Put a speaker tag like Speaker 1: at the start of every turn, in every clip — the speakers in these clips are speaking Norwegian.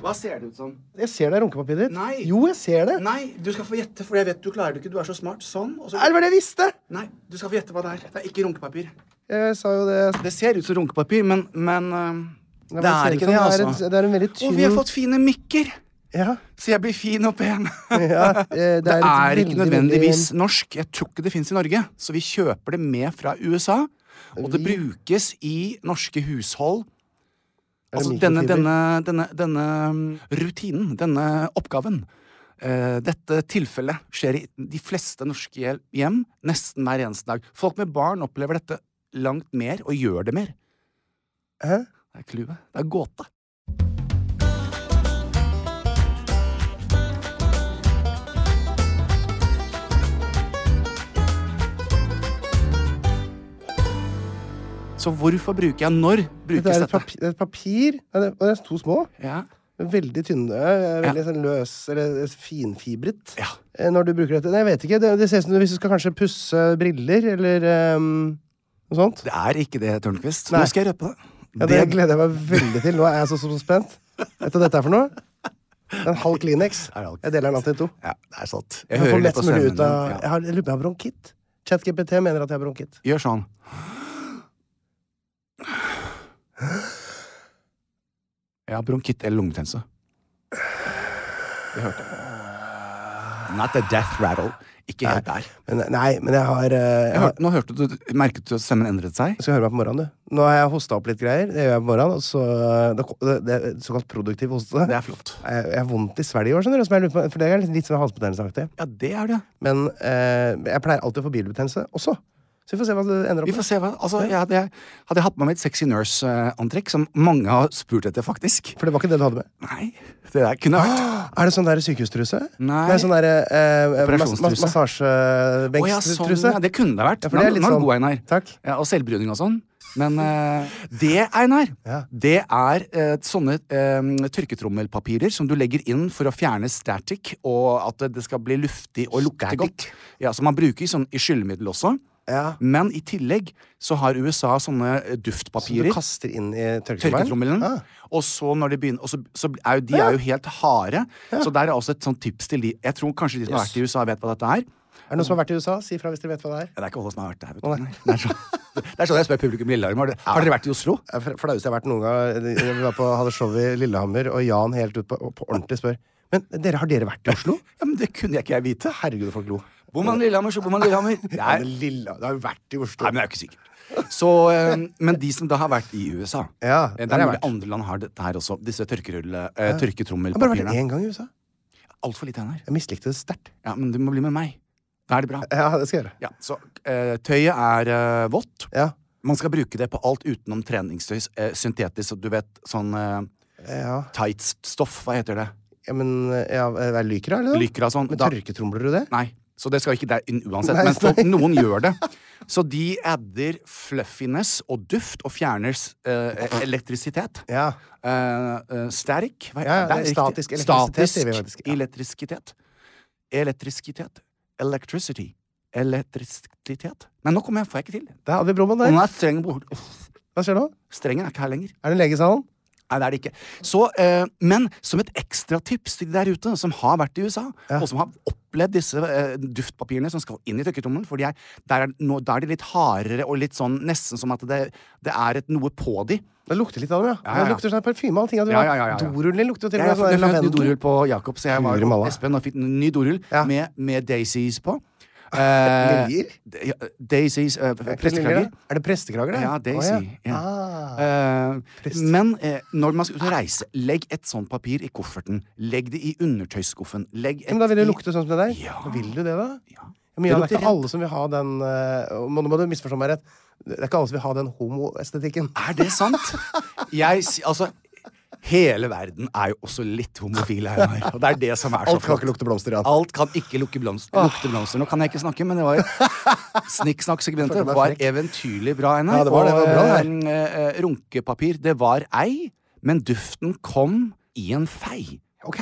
Speaker 1: Hva ser det ut som?
Speaker 2: Jeg ser det er runkepapiret ditt.
Speaker 1: Nei.
Speaker 2: Jo, jeg ser det.
Speaker 1: Nei, du skal få gjette, for jeg vet du klarer det ikke. Du er så smart. Sånn. Og
Speaker 2: Er
Speaker 1: så...
Speaker 2: det var det jeg visste!
Speaker 1: Nei, du skal få gjette hva det er. Det er ikke runkepapir.
Speaker 2: Jeg sa jo det.
Speaker 1: Det ser ut som runkepapir, men, men øhm,
Speaker 2: Nei, men
Speaker 1: det
Speaker 2: ser
Speaker 1: er
Speaker 2: ut
Speaker 1: ikke
Speaker 2: som
Speaker 1: det,
Speaker 2: er
Speaker 1: altså.
Speaker 2: et- det er en veldig
Speaker 1: Og vi har
Speaker 2: tynn-
Speaker 1: fått fine mikker!
Speaker 2: Ja.
Speaker 1: Så jeg blir fin og pen.
Speaker 2: Ja, eh, det er
Speaker 1: det
Speaker 2: et
Speaker 1: er
Speaker 2: veldig,
Speaker 1: ikke nødvendigvis norsk. Jeg tror ikke det fins i Norge. Så vi kjøper det med fra USA, og det brukes i norske hushold.
Speaker 2: det
Speaker 1: Altså denne,
Speaker 2: mikrofiber?
Speaker 1: denne, denne, denne mm, rutinen, denne oppgaven. Eh, Dette tilfellet skjer i de fleste norske hjem nesten hver eneste dag. Folk med barn opplever dette langt mer, og gjør det mer.
Speaker 2: Hæ?
Speaker 1: Det er clouet. Det er gåte. Så hvorfor bruker jeg når?
Speaker 2: Dette
Speaker 1: Brukes
Speaker 2: er et
Speaker 1: dette?
Speaker 2: papir, det er et papir ja, det, og det er to små.
Speaker 1: Ja.
Speaker 2: Veldig tynne. eh, Veldig sånn løs, eller finfibret.
Speaker 1: Ja.
Speaker 2: Eh, Når du bruker dette. Nei, jeg vet ikke. Det, det ser ut som du- hvis du skal kanskje pusse briller, eller ehm, noe sånt.
Speaker 1: Det er ikke det, Tørnquist.
Speaker 2: Nei.
Speaker 1: Nå skal jeg røpe det.
Speaker 2: Ja, det gleder jeg meg veldig til. Nå er jeg så, så, så spent. Vet du hva dette er for noe? En halv Kleenex.
Speaker 1: er alt.
Speaker 2: Jeg deler den alltid i to.
Speaker 1: Ja, det er sant.
Speaker 2: Jeg,
Speaker 1: Jeg hører
Speaker 2: mest
Speaker 1: litt på
Speaker 2: mulig
Speaker 1: stemmen.
Speaker 2: ut av,
Speaker 1: din.
Speaker 2: jeg, har, jeg lurer på om jeg har bronkitt. ChatGPT mener at jeg har bronkitt.
Speaker 1: Ja. Gjør sånn. Jeg har bronkitt eller lungebetennelse. Det hørte jeg. Not the death rattle. Ikke helt der.
Speaker 2: Men, nei, men jeg har, eh, jeg
Speaker 1: Jeg
Speaker 2: har
Speaker 1: hørte, nå hørte du, merket du at stemmen endret seg?
Speaker 2: jeg skal høre meg på morgenen, du. Nå har jeg hosta opp litt greier. Det gjør jeg på morgenen. Og så, det, det, det er såkalt produktiv hoste.
Speaker 1: Det er flott.
Speaker 2: Jeg, jeg har vondt i svelget i år, skjønner du. Som jeg lurer på, for det er litt, litt sånn halsbetennelseaktig.
Speaker 1: Ja, det er det.
Speaker 2: Men eh, jeg pleier alltid å få bilbetennelse også. Så vi får se hva det ender
Speaker 1: Vi
Speaker 2: opp
Speaker 1: får
Speaker 2: med.
Speaker 1: se hva Altså, jeg hadde, hadde jeg hatt med meg et sexy nurse-antrekk, som mange har spurt etter, faktisk
Speaker 2: For det var ikke det du hadde med.
Speaker 1: Nei. Det der kunne vært
Speaker 2: Er det sånn der sykehustruse?
Speaker 1: Nei.
Speaker 2: sånn der eh, eh, mas
Speaker 1: Operasjonstruse.
Speaker 2: mas
Speaker 1: Å ja, sånn,
Speaker 2: massasjebenkstruse.
Speaker 1: ja, det kunne det vært.
Speaker 2: Ja, for det er
Speaker 1: Nå-
Speaker 2: litt
Speaker 1: nå
Speaker 2: sånn-
Speaker 1: god, Einar.
Speaker 2: Takk.
Speaker 1: Ja, og selvbruning og sånn. Men eh, det, Einar,
Speaker 2: Ja.
Speaker 1: det er eh, sånne eh, tørketrommelpapirer som du legger inn for å fjerne static, og at det- det skal bli luftig og lukte godt. Ja, Som man bruker sånn i skyllemiddel også.
Speaker 2: Ja.
Speaker 1: Men i tillegg så har USA sånne eh,
Speaker 2: Som du
Speaker 1: duftpapirer.
Speaker 2: kaster inn i tørketrommelen?
Speaker 1: Tørketrommelen.
Speaker 2: Ah.
Speaker 1: Og så når de begynner og så, så er jo, De er jo helt harde. Så der er også et sånt tips til de Jeg tror kanskje de som har vært i USA, vet hva dette er.
Speaker 2: Er det noen som har vært i USA? Si fra hvis dere vet hva det er.
Speaker 1: Ja, det er ikke alle som har vært der. Vet du. Nei. Det, er sånn, det er sånn jeg spør publikum i Lillehammer. Har dere- Har dere vært i Oslo?
Speaker 2: Det er fla- flaueste jeg har vært noen gang. Jeg var på, hadde show i Lillehammer, og Jan helt ut på, på ordentlig spør Men dere, har dere vært i Oslo?
Speaker 1: Ja, men Det kunne jeg ikke jeg vite.
Speaker 2: Herregud, folk lo.
Speaker 1: Bor man i Lillehammer, så bor man i Lillehammer. Det
Speaker 2: Ja,
Speaker 1: er,
Speaker 2: men
Speaker 1: nei,
Speaker 2: Lilla, du har jo vært i Oslo.
Speaker 1: men jeg er jo ikke sikker. Så, eh, men de som da har vært i USA
Speaker 2: Ja,
Speaker 1: eh, Det
Speaker 2: der
Speaker 1: er
Speaker 2: har
Speaker 1: mulig
Speaker 2: jeg vært.
Speaker 1: andre land har dette her også. Disse tørkerulle, eh,
Speaker 2: jeg har bare vært
Speaker 1: tørketrommelpapirene.
Speaker 2: én gang i USA.
Speaker 1: Altfor lite hender.
Speaker 2: Jeg mislikte det sterkt.
Speaker 1: Ja, men du må bli med meg. Da er det bra.
Speaker 2: Ja, det skal jeg gjøre.
Speaker 1: Ja, så eh, Tøyet er eh, vått.
Speaker 2: Ja.
Speaker 1: Man skal bruke det på alt utenom treningstøy. Eh, syntetisk, så du vet, sånn eh,
Speaker 2: Ja,
Speaker 1: tights-stoff. Hva heter det?
Speaker 2: ja men ja, er Lycra, eller noe?
Speaker 1: Lycra og sånn.
Speaker 2: Men
Speaker 1: Da-
Speaker 2: tørketromler du det?
Speaker 1: Nei, så det skal ikke der inn uansett.
Speaker 2: Nei,
Speaker 1: men folk,
Speaker 2: nei.
Speaker 1: noen gjør det. Så de adder fluffiness og duft og fjerner eh, elektrisitet.
Speaker 2: Ja.
Speaker 1: Eh, eh, static? Hva-
Speaker 2: Ja, ja,
Speaker 1: det er riktig.
Speaker 2: statisk elektrisitet, sier vi
Speaker 1: Statisk
Speaker 2: faktisk, ja.
Speaker 1: elektrisitet. Elektrisitet. Electricity. Elektrisitet. Nei, nå kommer jeg, får jeg ikke til.
Speaker 2: Der hadde vi Broman
Speaker 1: Og
Speaker 2: der.
Speaker 1: nå er strengen borte. Uff,
Speaker 2: Hva skjer nå?
Speaker 1: Strengen er ikke her lenger.
Speaker 2: Er det en lege i salen?
Speaker 1: Nei, det er det ikke. Så, eh, men som et ekstratips til de der ute som har vært i USA, og som har opplevd disse eh, duftpapirene som skal inn i tørketrommelen, for de er, der, er, nå, der er de litt hardere og litt sånn nesten som at det, det er et noe på de.
Speaker 2: Det lukter litt av dem, ja.
Speaker 1: Ja, ja, ja.
Speaker 2: Det lukter sånn parfyme og allting.
Speaker 1: Ja, ja, ja, ja, ja.
Speaker 2: Dorullen din lukter jo til
Speaker 1: Jeg,
Speaker 2: og med
Speaker 1: jeg,
Speaker 2: sånn
Speaker 1: jeg, fant ny
Speaker 2: lavendel.
Speaker 1: dorull på Jakob, så jeg var
Speaker 2: Lurer malla.
Speaker 1: og Espen og fikk en ny dorull
Speaker 2: Ja.
Speaker 1: med, med daisies på.
Speaker 2: Liljer?
Speaker 1: Eh, d- ja, daisies eh, Prestekrager.
Speaker 2: Er det prestekrager, det?
Speaker 1: Ja, daisy.
Speaker 2: Å, ja.
Speaker 1: ja.
Speaker 2: Ah.
Speaker 1: Eh,
Speaker 2: Prest.
Speaker 1: men eh, når man skal ut og reise, legg et sånt papir i kofferten. Legg det i undertøysskuffen. Legg et
Speaker 2: Men da vil det
Speaker 1: i-
Speaker 2: lukte sånn som det der.
Speaker 1: Ja.
Speaker 2: Vil du det, da?
Speaker 1: Ja.
Speaker 2: Men ja, det er
Speaker 1: lukter
Speaker 2: ikke alle som vil ha den eh, og Nå må du misforstå meg rett. Det er ikke alle som vil ha den homoestetikken.
Speaker 1: Er det sant? Jeg si- Altså, hele verden er jo også litt homofil her, og det er det som er så
Speaker 2: Alt kan
Speaker 1: flott.
Speaker 2: ikke lukte blomster, ja. Ah.
Speaker 1: Alt kan ikke lukke blomster, lukte blomster. Nå kan jeg ikke snakke, men det var jo Snikksnakksegmentet
Speaker 2: Følte meg
Speaker 1: var
Speaker 2: frekk.
Speaker 1: eventyrlig bra, Einar.
Speaker 2: Ja, det var det. Det var bra,
Speaker 1: Og eh, eh, runkepapir, det var ei, men duften kom i en fei.
Speaker 2: Ok.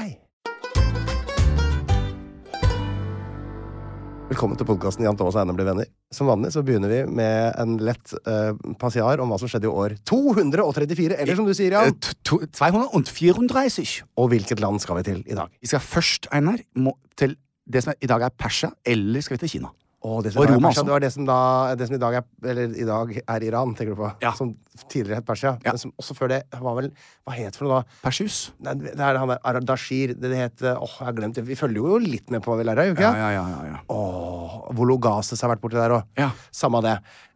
Speaker 2: Velkommen til podkasten Jan Thomas og Einar blir venner. Som vanlig så begynner vi med en lett uh, passiar om hva som skjedde i år 234, eller som du sier,
Speaker 1: Eh,
Speaker 2: Jan.
Speaker 1: t- to- 234.
Speaker 2: Og hvilket land skal vi til i dag?
Speaker 1: Vi skal først, Einar, må, til det som er, i dag er Persia, eller skal vi til Kina?
Speaker 2: Og det
Speaker 1: Og
Speaker 2: som, i dag er
Speaker 1: Roma
Speaker 2: Persia,
Speaker 1: også.
Speaker 2: det var det som, da, det som i, dag er, eller, i dag er Iran, tenker du på.
Speaker 1: Ja.
Speaker 2: Som tidligere het Persia.
Speaker 1: Ja.
Speaker 2: Men som også før det var vel Hva het det for noe da?
Speaker 1: Persius?
Speaker 2: Nei, det er han der Aradashir. Det het eh, Åh, jeg har glemt det. Vi følger jo litt med på hva vi lærer, gjør vi ikke?
Speaker 1: ja, ja. ja, ja.
Speaker 2: Åh, Vologases har vært borti der òg.
Speaker 1: Ja.
Speaker 2: Samme det.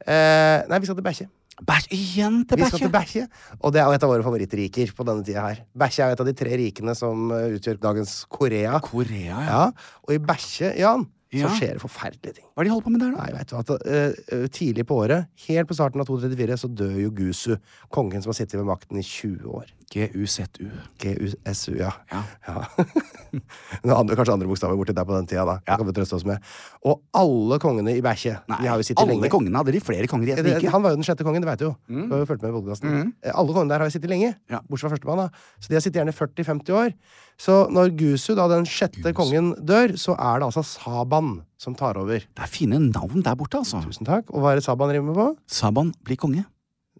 Speaker 2: Eh, nei, vi skal til Bæsje.
Speaker 1: Bæsj igjen til
Speaker 2: Vi skal
Speaker 1: Persia!
Speaker 2: til Bæsje, og det er jo et av våre favorittriker på denne tida her. Bæsje er jo et av de tre rikene som eh, utgjør dagens Korea.
Speaker 1: Korea, ja.
Speaker 2: Ja, og i Bæsje, Jan,
Speaker 1: Ja.
Speaker 2: så skjer det forferdelige ting.
Speaker 1: Hva er det de holder på med der, da?
Speaker 2: Nei, vet du hva, at, eh, eh, Tidlig på året, helt på starten av 234, så dør jo Gusu, kongen som har sittet ved makten i 20 år.
Speaker 1: GUZU.
Speaker 2: GUSU, ja.
Speaker 1: Ja.
Speaker 2: Det andre, kanskje andre bokstaver borti der på den tida, da. Det kan vi trøste oss med. Og alle kongene i Bæsje. de har jo sittet
Speaker 1: alle
Speaker 2: lenge. Eh,
Speaker 1: kongene hadde de flere konger i et
Speaker 2: Det-
Speaker 1: rike.
Speaker 2: Han var jo den sjette kongen, det veit du jo. Du har jo fulgt med i podcasten. Eh, Alle kongene der har jo sittet lenge,
Speaker 1: Ja.
Speaker 2: bortsett fra førstemann. da Så de har sittet gjerne 40-50 år. Så når Gusu, da den sjette kongen, dør, så er det altså Saban som tar over.
Speaker 1: Det er fine navn der borte, altså.
Speaker 2: Tusen takk. Og hva er det Saban rimer på?
Speaker 1: Saban blir konge.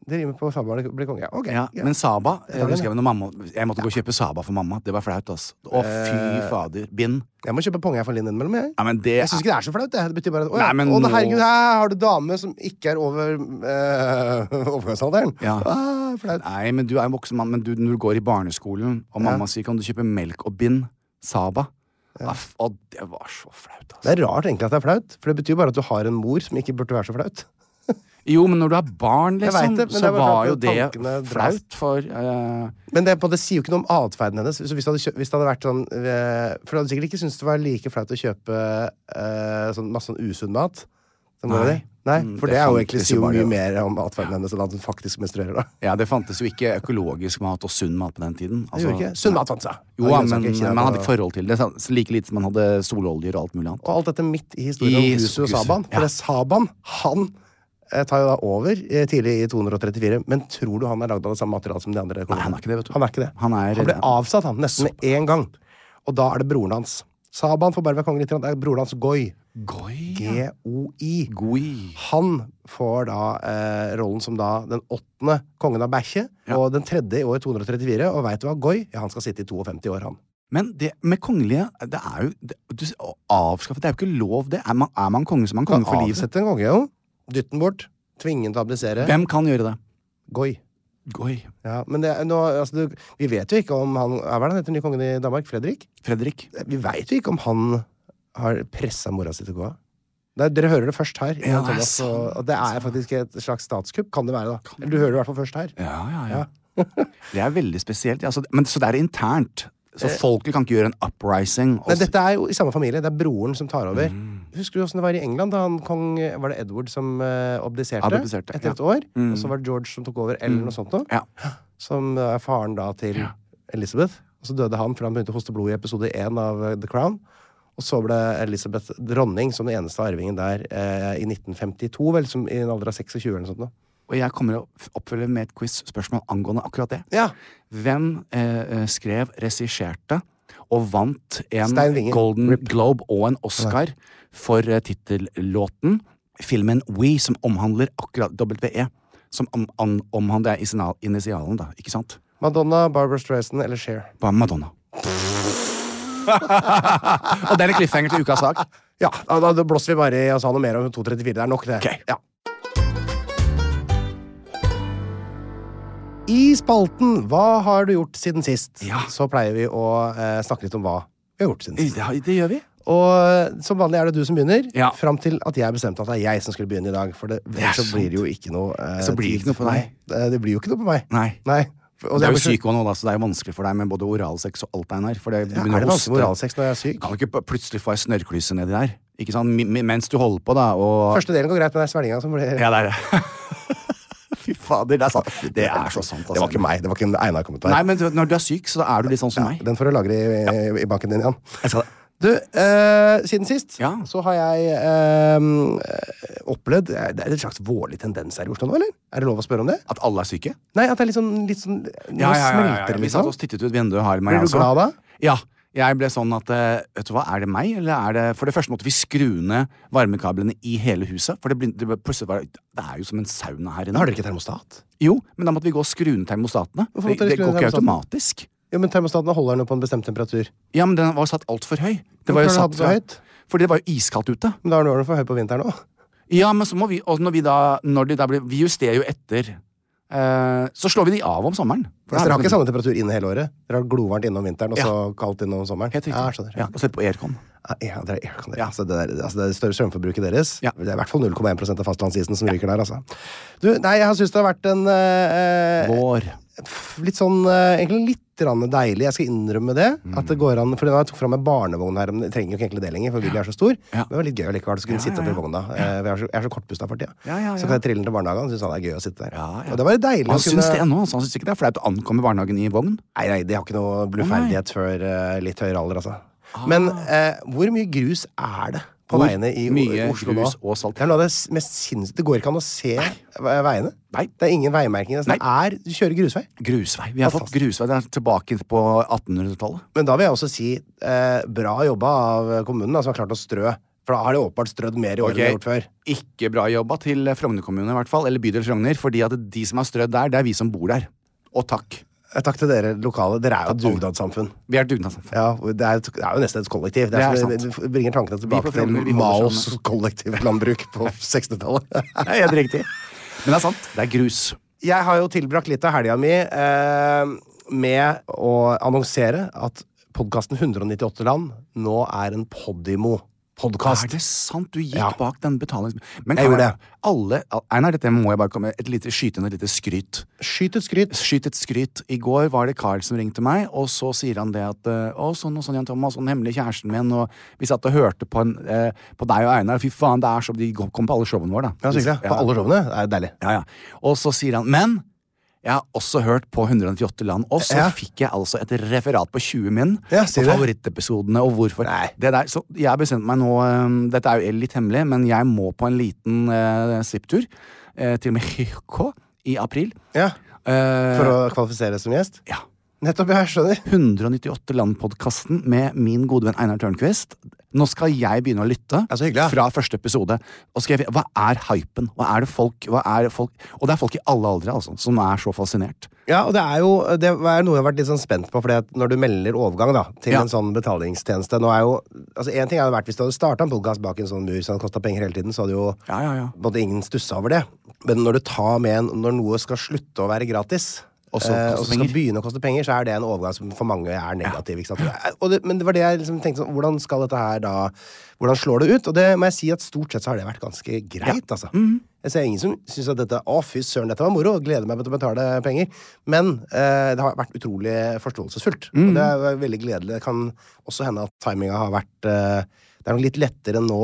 Speaker 2: Det rimer på Saban blir konge. Ja, ok.
Speaker 1: Ja,
Speaker 2: Ja.
Speaker 1: Men Saba jeg,
Speaker 2: Jeg tar den,
Speaker 1: husker jeg, når mamma, jeg måtte gå og kjøpe Saba for mamma. Det var flaut, altså. Å, fy
Speaker 2: Eh.
Speaker 1: fader. Bind.
Speaker 2: Jeg må kjøpe ponge her for Linn innimellom, jeg.
Speaker 1: Ja, men det
Speaker 2: Jeg syns ikke det er så flaut. Det Det betyr bare at, å, ja.
Speaker 1: Nei, men
Speaker 2: å, nei,
Speaker 1: nå-
Speaker 2: herregud, her har du dame som ikke er over eh, overgangsalderen.
Speaker 1: Ja.
Speaker 2: Ah, flaut.
Speaker 1: Nei, men du er en voksen mann, men du, når du går i barneskolen, og mamma sier 'kan du kjøpe melk og bind', Saba Aff, Og det var så flaut, altså.
Speaker 2: Det er rart egentlig at det er flaut, for det betyr jo bare at du har en mor som ikke burde være så flaut.
Speaker 1: Jo, men når du er barn, liksom,
Speaker 2: vet det, men
Speaker 1: så
Speaker 2: det er bare
Speaker 1: var
Speaker 2: at
Speaker 1: jo det
Speaker 2: tankene dras.
Speaker 1: flaut for eh,
Speaker 2: Men det, er på en måte- det sier jo ikke noe om atferden hennes. Så hvis, det hadde, kjø- hvis det hadde vært sånn eh, For du hadde sikkert ikke syntes det var like flaut å kjøpe eh, sånn, masse sånn usunn mat.
Speaker 1: Nei.
Speaker 2: Som det var det. Nei,
Speaker 1: Mm,
Speaker 2: for
Speaker 1: det
Speaker 2: det, er jo
Speaker 1: fant-
Speaker 2: egentlig
Speaker 1: det
Speaker 2: sier jo
Speaker 1: sier bare
Speaker 2: mye
Speaker 1: det.
Speaker 2: mer om atferden hennes enn at hun faktisk menstruerer. da
Speaker 1: Ja, det fantes jo ikke økologisk mat og sunn mat på den tiden. Altså,
Speaker 2: Det gjorde ikke. Sunn mat fantes, da.
Speaker 1: Jo,
Speaker 2: Det
Speaker 1: ja,
Speaker 2: var
Speaker 1: men
Speaker 2: grønnsaker, Kina
Speaker 1: man hadde
Speaker 2: og-
Speaker 1: ikke forhold til det. så- så Like lite som man hadde sololjer og alt mulig annet.
Speaker 2: Og alt dette midt i historien
Speaker 1: I
Speaker 2: om Gusu og
Speaker 1: Gusu,
Speaker 2: Saban. For
Speaker 1: ja.
Speaker 2: det er Saban, han eh, tar jo da over eh, tidlig i 234. Men tror du han er lagd av det samme materialet som de andre? kongene?
Speaker 1: han er ikke det, vet du.
Speaker 2: Han er ikke det.
Speaker 1: Han er- eh,
Speaker 2: ble avsatt, han, nesten med én gang. Og da er det broren hans. Saban får bare være konge litt. Det er broren hans Goi.
Speaker 1: Goi.
Speaker 2: G-O-I.
Speaker 1: Goi.
Speaker 2: Han får da eh, rollen som da den åttende kongen av Bæsje, og den tredje i år 234. Og veit du hva, Goi? Ja, han skal sitte i 52 år, han.
Speaker 1: Men det med kongelige Det er jo det, du, s- å avskaffe Det er jo ikke lov, det. Er man, er man konge, så er man
Speaker 2: Kan
Speaker 1: konge for livet.
Speaker 2: avsette en konge, jo. Dytte den bort. Tvinge den til å abdisere.
Speaker 1: Hvem kan gjøre det?
Speaker 2: Goi.
Speaker 1: Goi.
Speaker 2: Ja, men det, er- nå, altså, du, vi vet jo ikke om han Hva er det han heter, den nye kongen i Danmark? Fredrik?
Speaker 1: Fredrik.
Speaker 2: Vi vet jo ikke om han har pressa mora si til å gå av. Det er- Dere hører det først her.
Speaker 1: Ja,
Speaker 2: Jan
Speaker 1: det er
Speaker 2: Thomas, og,
Speaker 1: sant,
Speaker 2: og det er faktisk et slags statskupp. Kan det være, da? Eller du hører det i hvert fall først her.
Speaker 1: Ja, ja, ja. det er veldig spesielt. Altså, men, så det er internt. Så folket kan ikke gjøre en uprising. og
Speaker 2: Men
Speaker 1: s-
Speaker 2: dette er jo i samme familie. Det er broren som tar over.
Speaker 1: Mm.
Speaker 2: Husker du åssen det var i England da han kong Var det Edward som eh, obdiserte?
Speaker 1: Abdiserte, ja. Mm.
Speaker 2: etter et år. Og så var det George som tok over, eller noe sånt noe.
Speaker 1: Ja.
Speaker 2: Som er faren da til Elizabeth. Og så døde han fordi han begynte å hoste blod i episode én av eh, The Crown. Og så ble Elizabeth dronning som den eneste arvingen der eh, i 1952, vel, som i en alder av 26 eller noe sånt. noe.
Speaker 1: Og jeg kommer å f- oppfølge med et quiz-spørsmål angående akkurat det.
Speaker 2: Ja.
Speaker 1: Hvem eh, eh, skrev, regisserte og vant en
Speaker 2: Stein Winge.
Speaker 1: Golden Globe og en Oscar for eh, tittellåten. Filmen We, som omhandler akkurat WE. Som om, an- omhandler er isinal- initialen, da. Ikke sant?
Speaker 2: Madonna, Barbara Streisand eller Cher?
Speaker 1: På Madonna. og det er en cliffhanger til ukas sak.
Speaker 2: Ja, da, da- da blåser vi bare i og sa noe mer om 234. Det er nok, det.
Speaker 1: Ok.
Speaker 2: Ja. I spalten Hva har du gjort siden sist?
Speaker 1: Ja.
Speaker 2: Så pleier vi å eh, snakke litt om hva vi har gjort siden sist.
Speaker 1: Det, det gjør vi.
Speaker 2: Og eh, som vanlig er det du som begynner,
Speaker 1: Ja.
Speaker 2: fram til at jeg bestemte at det er jeg som skulle begynne i dag. For det,
Speaker 1: er
Speaker 2: ellers så
Speaker 1: sant.
Speaker 2: blir det jo ikke noe eh,
Speaker 1: Så blir det ikke
Speaker 2: tid
Speaker 1: noe på
Speaker 2: for
Speaker 1: deg.
Speaker 2: meg. Eh, Det blir jo ikke noe på meg.
Speaker 1: Nei.
Speaker 2: Nei. Og
Speaker 1: det er jo
Speaker 2: blir så-
Speaker 1: psyko nå, da, så det er jo vanskelig for deg med både oralsex og alt, Einar. For det, du
Speaker 2: Ja,
Speaker 1: begynner
Speaker 2: er det
Speaker 1: å
Speaker 2: vanskelig med
Speaker 1: hoste.
Speaker 2: oralsex når jeg er syk?
Speaker 1: Kan du ikke pl- plutselig få ei snørrklyse nedi der? Ikke sant? Mi- mi- Mens du holder på, da, og
Speaker 2: Første delen går greit, men det er svelginga som blir
Speaker 1: Ja, det er det. Fy fader, det er sant. Det er så sant, altså.
Speaker 2: Det var ikke meg. Det var ikke en Einar-kommentar.
Speaker 1: Nei, men du- når du er syk, så er du litt sånn som meg.
Speaker 2: Den får du lagre i, i banken din, Jan.
Speaker 1: Jeg skal det.
Speaker 2: Du, eh, siden sist
Speaker 1: Ja.
Speaker 2: så har jeg eh, opplevd Det er en slags vårlig tendens her i Oslo nå, eller? Er det lov å spørre om det?
Speaker 1: At alle er syke?
Speaker 2: Nei, at det er litt sånn, litt sånn Nå smelter det,
Speaker 1: Vi satt
Speaker 2: liksom.
Speaker 1: og tittet ut vinduet, Harm og
Speaker 2: Blir
Speaker 1: jeg
Speaker 2: du
Speaker 1: også.
Speaker 2: glad da?
Speaker 1: Ja. Jeg ble sånn at eh, Vet du hva, er det meg, eller er det For det første måtte vi skru ned varmekablene i hele huset. For det, ble, det, ble plutselig var, det er jo som en sauna her inne.
Speaker 2: Har dere ikke termostat?
Speaker 1: Jo, men da måtte vi gå og skru ned termostatene.
Speaker 2: Hvorfor
Speaker 1: Det,
Speaker 2: måtte dere
Speaker 1: det
Speaker 2: skru
Speaker 1: går
Speaker 2: ned
Speaker 1: ikke
Speaker 2: termostaten?
Speaker 1: automatisk.
Speaker 2: Jo, men termostaten holder den jo på en bestemt temperatur.
Speaker 1: Ja, men den var satt altfor høy. Det
Speaker 2: Hvorfor
Speaker 1: var
Speaker 2: har
Speaker 1: jo
Speaker 2: du hatt
Speaker 1: satt
Speaker 2: den så høyt?
Speaker 1: Fordi det var jo iskaldt ute.
Speaker 2: Men da er den for høy på vinteren òg.
Speaker 1: Ja, men så må vi Og når vi da, når de da blir Vi justerer jo etter. Eh, så slår vi de av om sommeren. For da er det
Speaker 2: Dere har
Speaker 1: sånn
Speaker 2: ikke samme temperatur inne hele året. Dere har glovarmt innom vinteren og så kaldt innom sommeren.
Speaker 1: Helt riktig.
Speaker 2: Ja, jeg skjønner.
Speaker 1: Ja, og sett på aircon.
Speaker 2: Ja, ja, dere, ja, kan dere. Altså, det, der, altså, det større strømforbruket deres
Speaker 1: Ja.
Speaker 2: Det er i hvert fall 0,1 av fastlandsisen som ryker der, altså. Du, nei, jeg har syntes det har vært en eh,
Speaker 1: Vår.
Speaker 2: pff, litt sånn eh, Egentlig litt rann deilig. Jeg skal innrømme det.
Speaker 1: Mm.
Speaker 2: At det går an, for nå har jeg tok fram en barnevogn her, men jeg trenger jo ikke egentlig det lenger, for bilen er så stor.
Speaker 1: Ja.
Speaker 2: Men det var litt gøy allikevel. Så kunne
Speaker 1: Ja,
Speaker 2: sitte
Speaker 1: ja,
Speaker 2: oppi
Speaker 1: ja.
Speaker 2: vogna. Eh, Jeg er så, jeg er så kortpusta for tida.
Speaker 1: Ja, ja, ja.
Speaker 2: Så kan jeg trille den til barnehagen. Syns han det er gøy å sitte der.
Speaker 1: Ja, ja.
Speaker 2: Og det var litt deilig
Speaker 1: Han
Speaker 2: å kunne
Speaker 1: syns det ennå. altså. Han syns ikke det er flaut å ankomme barnehagen i vogn.
Speaker 2: Nei, nei, de har ikke noe bluferdighet før eh, litt høyere alder, altså. Men eh, hvor mye grus er det på
Speaker 1: Ah. Hvor
Speaker 2: veiene i O-
Speaker 1: mye
Speaker 2: Oslo
Speaker 1: grus
Speaker 2: nå?
Speaker 1: og salt?
Speaker 2: Det er noe av det s- mest sinnssyke Det går ikke an å se ve- veiene.
Speaker 1: Nei.
Speaker 2: Det er ingen veimerkinger. Det er Du kjører grusvei.
Speaker 1: Grusvei. Vi har fått grusvei. Det er tilbake på 1800-tallet.
Speaker 2: Men da vil jeg også si eh, bra jobba av kommunen, da, som har klart å strø. For da har de åpenbart strødd mer i år enn de har gjort før.
Speaker 1: Ikke bra jobba til Frogner kommune, i hvert fall. Eller bydel Frogner. Fordi at de som har strødd der, det er vi som bor der. Og takk.
Speaker 2: Eh, Takk til dere lokale. Dere er jo et dugnadssamfunn.
Speaker 1: Vi er et dugnadssamfunn.
Speaker 2: Ja, det er, det er jo nesten et kollektiv. Det,
Speaker 1: Det
Speaker 2: er
Speaker 1: er
Speaker 2: som- det bringer tankene
Speaker 1: Vi
Speaker 2: tilbake
Speaker 1: på Frogner, vi
Speaker 2: til
Speaker 1: holder
Speaker 2: Maos kollektivlandbruk på 60-tallet.
Speaker 1: Det er Helt riktig. Men det er sant. Det er grus.
Speaker 2: Jeg har jo tilbrakt litt av helga mi eh, med å annonsere at podkasten 198 land nå er en
Speaker 1: Er
Speaker 2: Podimo-podkast.
Speaker 1: det sant? Du gikk
Speaker 2: Ja.
Speaker 1: bak den betalings... Men
Speaker 2: Jeg
Speaker 1: kan
Speaker 2: gjorde det.
Speaker 1: Alle, al- Einar, dette må jeg bare komme et lite, skyte inn et lite skryt.
Speaker 2: Skyt et skryt.
Speaker 1: Skyt et skryt. I går var det Carl som ringte meg, og så sier han det at eh, Å, sånn og sånn, Jan Thomas, og den hemmelige kjæresten min, og vi satt og hørte på, en, eh, på deg og Einar, fy faen, det er så De kom på alle showene våre, da.
Speaker 2: Ja, så hyggelig. På alle showene. Det er deilig.
Speaker 1: Ja, ja. Og så sier han Men jeg har også hørt på 198 land, og så
Speaker 2: Ja.
Speaker 1: fikk jeg altså et referat på 20 min.
Speaker 2: Ja,
Speaker 1: på
Speaker 2: sier det.
Speaker 1: favorittepisodene og hvorfor. Det der, så jeg bestemte meg nå øhm, Dette er jo litt hemmelig, men jeg må på en liten uh, svipptur eh, til Mexico i april.
Speaker 2: Ja.
Speaker 1: Eh,
Speaker 2: For å kvalifisere som gjest.
Speaker 1: ja.
Speaker 2: Nettopp, jeg skjønner.
Speaker 1: 198 land-podkasten med min gode venn Einar Tørnquist. Nå skal jeg begynne å lytte
Speaker 2: Ja, så hyggelig, ja.
Speaker 1: fra første episode. Og skal jeg, hva er hypen? Hva er det folk, hva er det folk Og det er folk i alle aldre altså, som er så fascinert.
Speaker 2: Ja, og det er jo det er noe jeg har vært litt sånn spent på, fordi at når du melder overgang da, til
Speaker 1: Ja.
Speaker 2: en sånn betalingstjeneste nå er jo, altså En ting hadde vært hvis du hadde starta en podkast bak en sånn mur som kosta penger hele tiden, så hadde jo
Speaker 1: Ja, ja, ja.
Speaker 2: måtte ingen stussa over det. Men når du tar med en, når noe skal slutte å være gratis,
Speaker 1: Og så
Speaker 2: eh,
Speaker 1: koster
Speaker 2: og så
Speaker 1: penger.
Speaker 2: skal begynne å koste penger, så er det en overgang som for mange er negativ. Ikke sant? Eh, Og det, men det var det jeg liksom tenkte sånn, hvordan skal dette her da Hvordan slår det ut? Og det må jeg si at stort sett så har det vært ganske greit, altså.
Speaker 1: Mhm.
Speaker 2: Jeg ser ingen som syns at dette Å, fy søren, dette var moro, og gleder meg til å betale penger. Men eh, det har vært utrolig forståelsesfullt.
Speaker 1: Mhm.
Speaker 2: Og det er veldig gledelig. Det kan også hende at timinga har vært eh, Det er nok litt lettere nå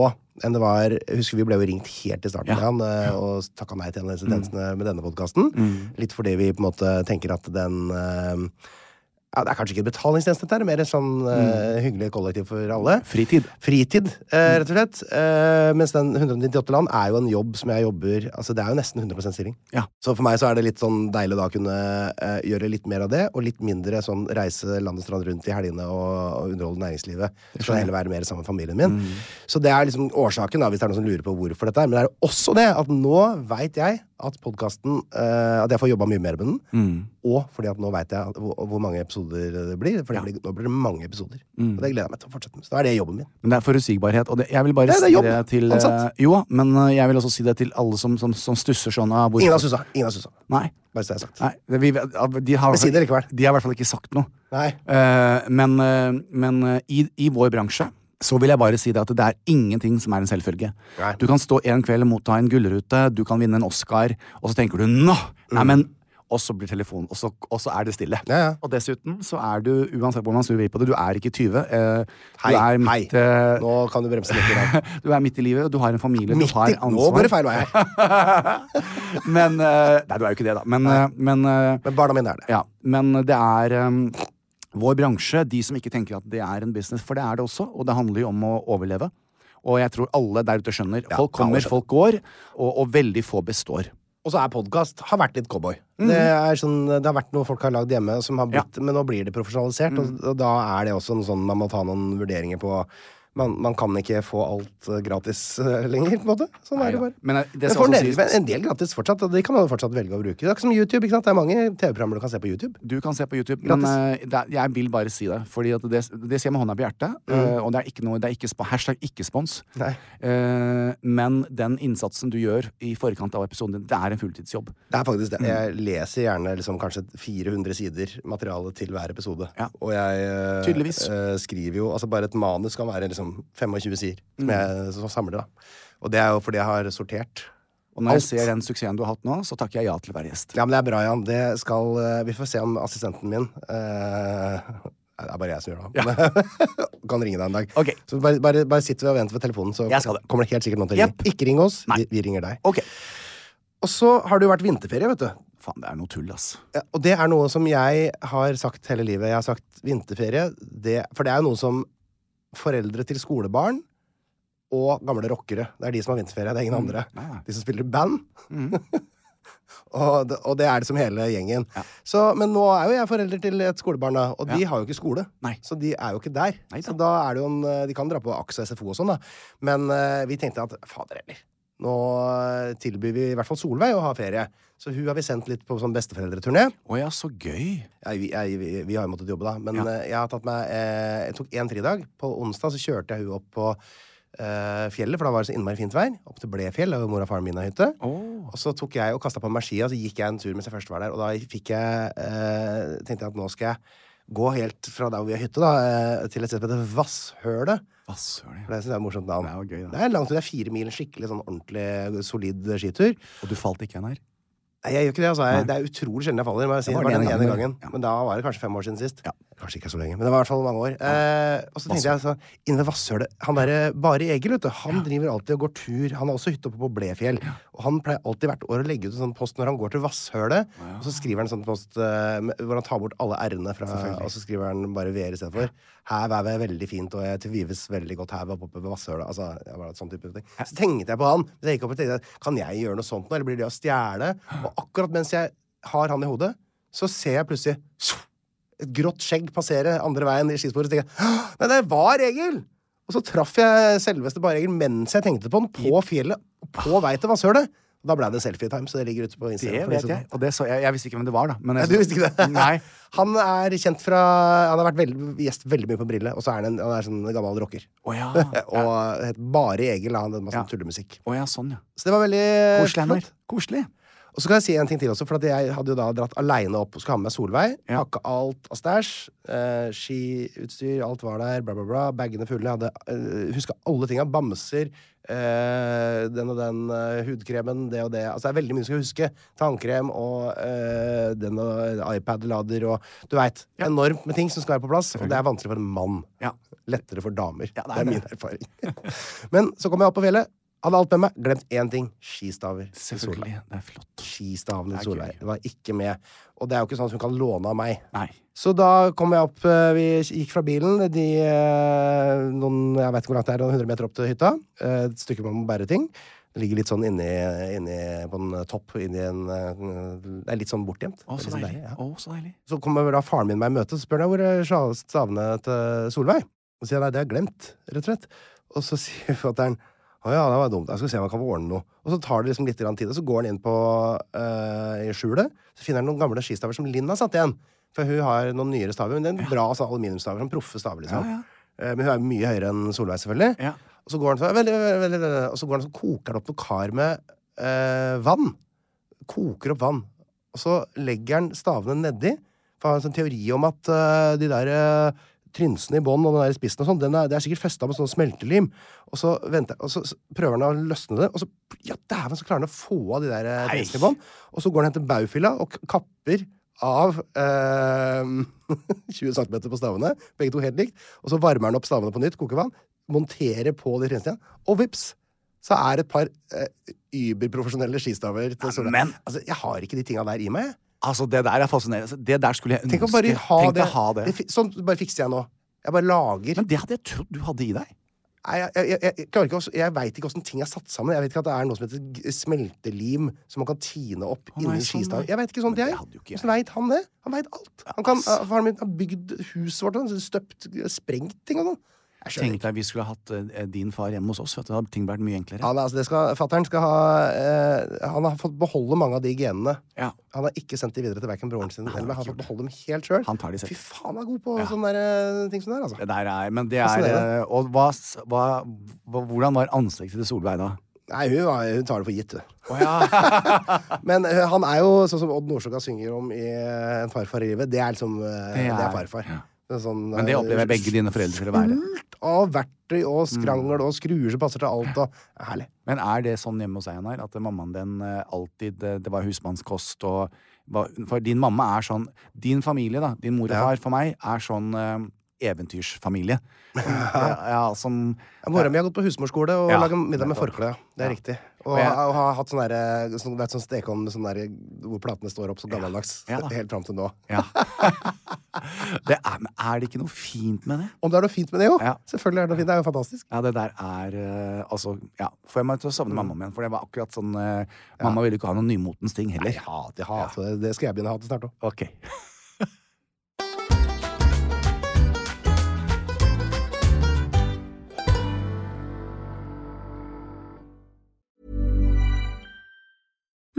Speaker 2: enn det var Jeg husker vi ble jo ringt helt i starten
Speaker 1: Ja. Mm.
Speaker 2: med han, eh, og takka nei til en av disse tjenestene med denne podkasten. Litt fordi vi på en måte tenker at den eh, ja, Det er kanskje ikke en betalingstjeneste, dette er mer et sånn
Speaker 1: Mm.
Speaker 2: eh, hyggelig kollektiv for alle.
Speaker 1: Fritid.
Speaker 2: Fritid, eh, rett og slett. Eh, mens den 198 land er jo en jobb som jeg jobber Altså, det er jo nesten 100 stilling.
Speaker 1: Ja.
Speaker 2: Så for meg så er det litt sånn deilig da å kunne eh, gjøre litt mer av det, og litt mindre sånn reise land og strand rundt i helgene og, og underholde næringslivet. Så heller være mer sammen med familien min. Så det er liksom årsaken, da, hvis det er noen som lurer på hvorfor dette er. Men det er også det at nå veit jeg at podkasten At jeg får jobba mye mer med den. Og fordi at nå veit jeg at hvor, hvor mange episoder det blir. For det blir, nå blir det mange episoder. Og det gleder jeg meg til å fortsette med. Så da er det jobben min.
Speaker 1: Men det er forutsigbarhet. Og det, jeg vil bare
Speaker 2: Ja, det er
Speaker 1: si
Speaker 2: jobb.
Speaker 1: det til eh,
Speaker 2: Ansatt.
Speaker 1: Jo, men eh, jeg vil også si det til alle som, som, som stusser sånn av hvorfor-
Speaker 2: Ingen har sussa. Ingen har sussa.
Speaker 1: Nei.
Speaker 2: Bare så det er sagt.
Speaker 1: Nei, det- vi, ah, de, har,
Speaker 2: Men si det likevel.
Speaker 1: de har i hvert fall ikke sagt noe.
Speaker 2: Nei.
Speaker 1: Eh, men eh, men eh, i, i vår bransje så vil jeg bare si det at det er ingenting som er en selvfølge.
Speaker 2: Nei.
Speaker 1: Du kan stå en kveld og motta en gullrute, du kan vinne en Oscar, og så tenker du nå! Nei, men Og så blir telefonen, og så, og så er det stille.
Speaker 2: Mm. Ja, ja.
Speaker 1: Og dessuten så er du, uansett hvordan man snur og vrir på det, du er ikke 20. eh,
Speaker 2: Hei,
Speaker 1: du er
Speaker 2: hei.
Speaker 1: midt, eh,
Speaker 2: Nå kan du bremse litt. i dag.
Speaker 1: du er midt i livet, du har en familie,
Speaker 2: Midt
Speaker 1: du har
Speaker 2: i-
Speaker 1: ansvar.
Speaker 2: Nå går det feil vei her.
Speaker 1: men eh, Nei, du er jo ikke det, da. Men, eh, men eh,
Speaker 2: Men barna mine er det.
Speaker 1: ja, men det er em, vår bransje, de som ikke tenker at det er en business, for det er det også, og det handler jo om å overleve. Og jeg tror alle der ute skjønner. Folk kommer,
Speaker 2: alle skjønner.
Speaker 1: folk går, og, og veldig få består.
Speaker 2: Og så er podkast har vært litt cowboy.
Speaker 1: Mhm.
Speaker 2: Det, er sånn, det har vært noe folk har lagd hjemme, som har blitt, men nå blir det profesjonalisert. Og,
Speaker 1: Mhm.
Speaker 2: og da er det også en sånn man må ta noen vurderinger på. Man, man kan ikke få alt eh, gratis eh, lenger, på en måte. Sånn er det
Speaker 1: Neida.
Speaker 2: bare.
Speaker 1: Men, eh, det
Speaker 2: Men
Speaker 1: skal
Speaker 2: for en
Speaker 1: også
Speaker 2: del,
Speaker 1: sies-
Speaker 2: men en del gratis fortsatt, og de kan man jo fortsatt velge å bruke. Det er ikke som YouTube, ikke sant? Det er mange TV-programmer du kan se på YouTube.
Speaker 1: Du kan se på YouTube, men eh, det, er- jeg vil bare si det. Fordi at det, det sier jeg med hånda på hjertet, eh, og det er ikke noe det er ikke, spo- Hashtag ikke spons.
Speaker 2: Mm. Nei.
Speaker 1: Eh, men den innsatsen du gjør i forkant av episoden din, det er en fulltidsjobb.
Speaker 2: Det er faktisk
Speaker 1: Mm.
Speaker 2: det. Jeg leser gjerne liksom kanskje 400 sider materiale til hver episode.
Speaker 1: Ja.
Speaker 2: Og jeg eh,
Speaker 1: Tydeligvis.
Speaker 2: eh, skriver jo Altså bare et manus kan være liksom 25 sider,
Speaker 1: Mm.
Speaker 2: som jeg som samler, da. Og det er jo fordi jeg har sortert.
Speaker 1: Og når
Speaker 2: Alt.
Speaker 1: jeg ser den suksessen du har hatt nå, så takker jeg ja til å være gjest.
Speaker 2: Ja, men det er bra, Jan. Det skal eh, Vi får se om assistenten min eh, Det er bare jeg som gjør det. da. kan ringe deg en dag.
Speaker 1: Ok.
Speaker 2: Så bare, bare, bare sitter vi og venter ved telefonen, så
Speaker 1: Jeg skal det.
Speaker 2: kommer det helt sikkert noen til å ringe.
Speaker 1: Jepp.
Speaker 2: Ikke ring oss,
Speaker 1: Nei.
Speaker 2: vi, vi ringer deg.
Speaker 1: Ok.
Speaker 2: Og så har det jo vært vinterferie, vet du.
Speaker 1: Faen, det er noe tull, ass.
Speaker 2: Ja, og det er noe som jeg har sagt hele livet. Jeg har sagt vinterferie. Det, for det er jo noe som foreldre til skolebarn og gamle rockere Det er de som har vinterferie, det er ingen andre.
Speaker 1: Mm. Nei, Mm. nei.
Speaker 2: De som spiller i band. og, det, og det er det som hele gjengen. Så, men nå er jo jeg forelder til et skolebarn, da, og de har jo ikke skole.
Speaker 1: Nei.
Speaker 2: Så de er jo ikke der.
Speaker 1: Neida.
Speaker 2: Så da er det jo en, eh, De kan dra på AKS og SFO og sånn, da. Men eh, vi tenkte at fader heller. Nå eh, tilbyr vi i hvert fall Solveig å ha ferie. Så hun har vi sendt litt på sånn besteforeldreturné.
Speaker 1: Å ja, så gøy.
Speaker 2: Ja, vi, jeg, vi, vi har jo måttet jobbe, da. Men eh, jeg har tatt meg eh, Jeg tok én fridag. På onsdag så kjørte jeg hun opp på eh, fjellet, for da var det så innmari fint vær. Opp til Blefjell, der hvor mor og faren min har hytte. Og så tok jeg og kasta på meg skia, og så gikk jeg en tur mens jeg først var der. Og da fikk jeg eh, Tenkte jeg at nå skal jeg gå helt fra der hvor vi har hytte, da, eh, til et sted som heter Vasshølet.
Speaker 1: Hva søren.
Speaker 2: For det synes jeg er et morsomt navn.
Speaker 1: Det er jo gøy, da.
Speaker 2: det er langt ut. Det er fire mil skikkelig sånn ordentlig solid skitur.
Speaker 1: Og du falt ikke igjen her?
Speaker 2: Nei, jeg gjør ikke det. Altså. Jeg, det er utrolig sjelden jeg faller. Må jeg si.
Speaker 1: Det
Speaker 2: Det
Speaker 1: var
Speaker 2: var
Speaker 1: den
Speaker 2: den
Speaker 1: ene
Speaker 2: ene
Speaker 1: gangen.
Speaker 2: gangen.
Speaker 1: Ja.
Speaker 2: Men da var det kanskje fem år siden sist.
Speaker 1: Ja.
Speaker 2: Kanskje ikke så lenge, men det var i hvert fall mange år. Eh, og så tenkte jeg sånn, inne ved Vasshølet Han derre Bare Egil, vet du, han driver alltid og går tur. Han har også hytte oppe på Blefjell. Og han pleier alltid hvert år å legge ut en sånn post når han går til Vasshølet. Og så skriver han en sånn post eh, med- hvor han tar bort alle r-ene, fra, og så skriver han bare VR istedenfor. Her er været veldig fint, og jeg trives veldig godt her oppe på Vasshølet. Altså, ja, bare sånn type ting. Så tenkte jeg på han. Så jeg gikk opp og tenkte, kan jeg gjøre noe sånt nå, eller blir det å stjele? Og akkurat mens jeg har han i hodet, så ser jeg plutselig et grått skjegg passere andre veien i skisporet. Så tenker jeg «Hå! Nei, det var Egil! Og så traff jeg selveste Bare Egil mens jeg tenkte på han på fjellet, på vei til Vasshølet. Og Da ble det selfie time, så det ligger ute på
Speaker 1: Det
Speaker 2: Instagram. for de
Speaker 1: vet
Speaker 2: som-
Speaker 1: jeg. Og det så, jeg, jeg visste ikke hvem det var, da. Men
Speaker 2: Nei,
Speaker 1: jeg,
Speaker 2: du visste ikke det?
Speaker 1: Nei.
Speaker 2: Han er kjent fra Han har vært veldig, gjest veldig mye på Brille, og så er han en, han er sånn gammel rocker.
Speaker 1: Å Ah, ja.
Speaker 2: og het Bare Egil, da. Han hadde masse
Speaker 1: Ja.
Speaker 2: tullemusikk.
Speaker 1: Å ja, sånn, ja.
Speaker 2: Så det var veldig
Speaker 1: Koselig,
Speaker 2: flott.
Speaker 1: Einar. Koselig.
Speaker 2: Og så kan jeg si en ting til også, for at jeg hadde jo da dratt aleine opp og skulle ha med meg Solveig.
Speaker 1: Ja.
Speaker 2: Pakka alt av stæsj. Eh, skiutstyr, alt var der, bla, bla, bla. Bagene fulle. jeg Hadde eh, huska alle tinga. Bamser. Eh, den og den eh, hudkremen, det og det. Altså Det er veldig mye du skal huske. Tannkrem og eh, den og iPad-lader og Du veit. Enormt med ting som skal være på plass, og det er vanskelig for en mann.
Speaker 1: Ja.
Speaker 2: Lettere for damer.
Speaker 1: Ja, det
Speaker 2: det,
Speaker 1: er
Speaker 2: er min erfaring. Men så kom jeg opp på fjellet. Hadde alt med meg. Glemt én ting. Skistaver. til Solveig.
Speaker 1: Selvfølgelig. Det er flott.
Speaker 2: Skistavene
Speaker 1: Det er
Speaker 2: til Solveig.
Speaker 1: gøy.
Speaker 2: Det var ikke med. Og det er jo ikke sånn at hun kan låne av meg.
Speaker 1: Nei.
Speaker 2: Så da kom jeg opp, eh, vi gikk fra bilen de, eh, noen, jeg vet ikke hvor langt det er, noen hundre meter opp til hytta. Eh, Et stykke man må bære ting. Det ligger litt sånn inni, inni på en topp, inni en eh, Det er litt sånn bortgjemt.
Speaker 1: Å,
Speaker 2: Det
Speaker 1: så
Speaker 2: er litt sånn
Speaker 1: deilig.
Speaker 2: deilig, ja.
Speaker 1: Å, så deilig.
Speaker 2: Så kommer da faren min meg i møte og spør meg hvor er sja- stavene til Solveig. Og sier jeg nei, det har jeg glemt, rett og slett. Og så sier fatter'n å ja, det var dumt, jeg skal se om jeg kan få ordne noe. Og så tar det liksom litt grann tid, og så går han inn på eh, i skjulet. Så finner han noen gamle skistaver som Linn har satt igjen. For hun har noen nyere staver, men det er en bra sånn aluminiumsstaver, sånn proffe staver, liksom. Eh, Men hun er mye høyere enn Solveig, selvfølgelig.
Speaker 1: Ja.
Speaker 2: Og så går han så, veldig, veldig, veldig, veldig, og så går han så koker han opp noe kar med eh, vann. Koker opp vann. Og så legger han stavene nedi. For han har en sånn teori om at eh, de der eh, trynsene i bånn og den der spissen og sånn, den er, det er sikkert festa med sånn smeltelim. Og så, venter, og så så prøver han å løsne det, og så ja, dæven, så klarer han å få av de der eh,
Speaker 1: Nei.
Speaker 2: trinsene i bånn. Og så går han hen til baufilla og k- kapper av eh, 20 cm på stavene. Begge to helt likt. Og så varmer han opp stavene på nytt, koker vann, monterer på de trinsene igjen, og vips! Så er det et par eh, überprofesjonelle skistaver til Solveig.
Speaker 1: men-
Speaker 2: Altså, jeg har ikke de tinga der i meg. jeg.
Speaker 1: Altså, det der er fascinerende. Altså, Det der skulle jeg ønske.
Speaker 2: Tenk å bare ha
Speaker 1: Tenk
Speaker 2: det.
Speaker 1: Å ha det.
Speaker 2: Det fi- Sånn bare fikser jeg nå. Jeg bare lager.
Speaker 1: Men det hadde jeg trodd du hadde i deg.
Speaker 2: Nei, jeg, jeg, jeg, jeg, klarer ikke å- jeg veit ikke åssen ting er satt sammen. Jeg vet ikke at det er noe som heter g- smeltelim som man kan tine
Speaker 1: Å,
Speaker 2: opp
Speaker 1: nei,
Speaker 2: inni
Speaker 1: sånn,
Speaker 2: skistaven.
Speaker 1: nei.
Speaker 2: Jeg vet ikke sånn
Speaker 1: Men
Speaker 2: det
Speaker 1: det
Speaker 2: er.
Speaker 1: hadde jo ikke jeg.
Speaker 2: Hvordan veit han det? Han veit alt. Han kan,
Speaker 1: ass.
Speaker 2: eh, faren min har bygd huset vårt, han har støpt, sprengt ting og sånn. Jeg skjønner
Speaker 1: Tenk deg vi skulle ha hatt eh, din far hjemme hos oss. Vet du. Da hadde ting vært mye enklere.
Speaker 2: Han, er- altså, det skal, fatteren skal ha eh, Han har fått beholde mange av de genene.
Speaker 1: Ja.
Speaker 2: Han har ikke sendt de videre til verken broren sin
Speaker 1: Nei, han
Speaker 2: eller meg.
Speaker 1: har
Speaker 2: Han har
Speaker 1: ikke
Speaker 2: fått
Speaker 1: gjort det.
Speaker 2: beholde dem helt sjøl.
Speaker 1: Han tar de selv.
Speaker 2: Fy faen, han er god på sånne der, eh, ting som det er, altså.
Speaker 1: Det der er, men det er
Speaker 2: Fascinerende.
Speaker 1: eh, Og hva, s- hva, hva, hvordan var ansiktet til Solveig da?
Speaker 2: Nei, hun, var- hun tar det for gitt, hun.
Speaker 1: Å ja.
Speaker 2: Men eh, han er jo sånn som Odd Nordstoga synger om i eh, En farfar i livet. Det er liksom eh, Det
Speaker 1: Det
Speaker 2: er,
Speaker 1: er-
Speaker 2: farfar.
Speaker 1: ja.
Speaker 2: Det er sånn,
Speaker 1: Men det
Speaker 2: eh,
Speaker 1: opplever jeg begge dine foreldre til å være.
Speaker 2: Fullt av verktøy og skrangel og skruer som passer til alt og Herlig.
Speaker 1: Men er det sånn hjemme hos deg, Einar, at mammaen din eh, alltid eh, Det var husmannskost og var- For din mamma er sånn Din familie, da, din mor og
Speaker 2: Ja.
Speaker 1: far, for meg, er sånn eh, eventyrsfamilie. ja, ja, som
Speaker 2: Ja, Mora mi har gått på husmorskole og
Speaker 1: Ja,
Speaker 2: lager middag med
Speaker 1: nettopp.
Speaker 2: forkle. ja. Det er riktig. Og,
Speaker 1: Og jeg-
Speaker 2: har- og har hatt sånn derre sånn, vet du, sånn stekeovn med sånn derre hvor platene står opp så gammeldags.
Speaker 1: Ja, ja da.
Speaker 2: Helt fram til nå.
Speaker 1: Ja. det er, men er det ikke noe fint med det?
Speaker 2: Om det er noe fint med det, jo!
Speaker 1: Ja.
Speaker 2: Selvfølgelig er det noe fint. Det er jo fantastisk.
Speaker 1: Ja, det der er eh, Altså, ja. Får jeg meg til å
Speaker 2: Mm.
Speaker 1: savne mammaen min, for det var akkurat sånn eh, Mamma ville ikke ha noen nymotens ting heller.
Speaker 2: Jeg hater, jeg hater det. Det skal jeg begynne å hate snart òg.
Speaker 1: Ok.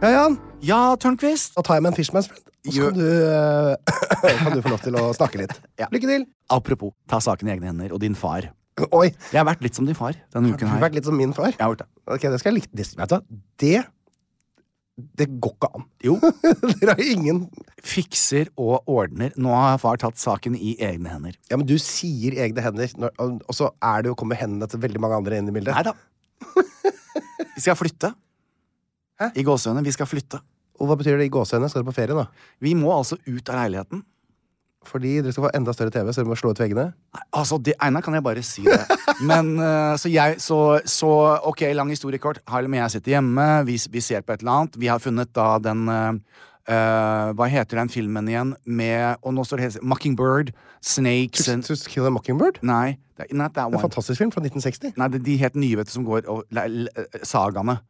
Speaker 2: Ja, Jan,
Speaker 1: Ja, Tørnquist!
Speaker 2: da tar jeg med en Fishman's Friend. Og så
Speaker 1: Gjør-
Speaker 2: kan du, eh, kan du få lov til å snakke litt. Lykke til!
Speaker 1: Apropos ta saken i egne hender, og din far.
Speaker 2: Oi!
Speaker 1: Jeg har vært litt som din far denne
Speaker 2: Du
Speaker 1: uken
Speaker 2: har
Speaker 1: her.
Speaker 2: vært litt som min far.
Speaker 1: Jeg har gjort det.
Speaker 2: Ok, det skal jeg like. Det, vet du hva? Det Det går ikke an.
Speaker 1: Jo.
Speaker 2: Dere har ingen
Speaker 1: Fikser og ordner. Nå har far tatt saken i egne hender.
Speaker 2: Ja, men du sier egne hender, når, og og så er det jo, kommer hendene til veldig mange andre inn i bildet.
Speaker 1: Nei da. Vi skal flytte. I gåsehudene. Vi skal flytte.
Speaker 2: Og hva betyr det i gåsehudene? Skal dere på ferie, da?
Speaker 1: Vi må altså ut av leiligheten.
Speaker 2: Fordi dere skal få enda større TV, så dere må slå ut veggene?
Speaker 1: Nei, Altså, det, Einar kan jeg bare si det. Men eh, så jeg Så, så ok, lang historie kort. Harlem og jeg sitter hjemme, vi, s- vi ser på et eller annet. Vi har funnet da den eh, eh, Hva heter den filmen igjen med Og nå står det helt Mockingbird, Snakes and
Speaker 2: To Kill a Mockingbird?
Speaker 1: Nei, det er- not that
Speaker 2: Det er en
Speaker 1: one.
Speaker 2: fantastisk film fra 1960.
Speaker 1: Nei, det er de helt nye, vet du, som går og le- le- eh, Sagaene.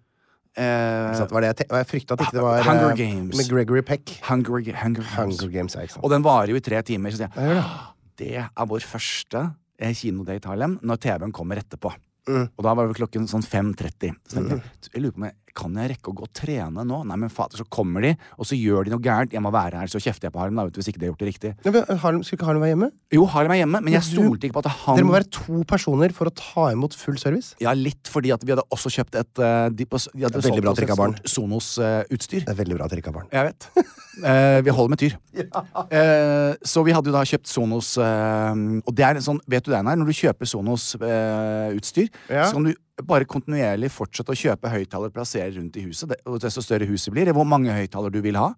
Speaker 1: Eh,
Speaker 2: Så det var det jeg, te- og jeg frykta at ikke det var
Speaker 1: Ah, Hunger
Speaker 2: eh,
Speaker 1: Games.
Speaker 2: med Gregory Peck.
Speaker 1: Hunger, Ga- Hunger Games.
Speaker 2: Hunger Games, ja, ikke sant.
Speaker 1: Og den varer jo i tre timer. Så sier jeg «Åh, det er vår første eh, kinodate Harlem når TV-en kommer etterpå.
Speaker 2: Mm.
Speaker 1: Og da var det klokken sånn 5.30. Så tenkte jeg, jeg lurer på om jeg kan jeg rekke å gå og trene nå? Nei, men fader, så kommer de, og så gjør de noe gærent. Jeg må være her, så kjefter jeg på Harlem da, vet du, hvis ikke de har gjort det riktig.
Speaker 2: Ja, men Harlem, skulle ikke Harlem være hjemme?
Speaker 1: Jo, Harlem er hjemme, men jeg
Speaker 2: Men du-
Speaker 1: stolte ikke på at han
Speaker 2: Dere må være to personer for å ta imot full service.
Speaker 1: Ja, litt fordi at vi hadde også kjøpt et eh, de på, de hadde eh,
Speaker 2: Veldig
Speaker 1: solgt
Speaker 2: bra
Speaker 1: oss et
Speaker 2: trikk av barn.
Speaker 1: stort Sonos-utstyr.
Speaker 2: Det er veldig bra trikk av barn.
Speaker 1: Jeg vet. Eh, vi holder med tyr. Eh, så vi hadde jo da kjøpt Sonos eh, Og det er en sånn, vet du det, Einar, når du kjøper Sonos-utstyr,
Speaker 2: Ja.
Speaker 1: så kan du bare kontinuerlig fortsette å kjøpe høyttaler og plassere rundt i huset. Det, og desto større huset blir, hvor mange høyttaler du vil ha.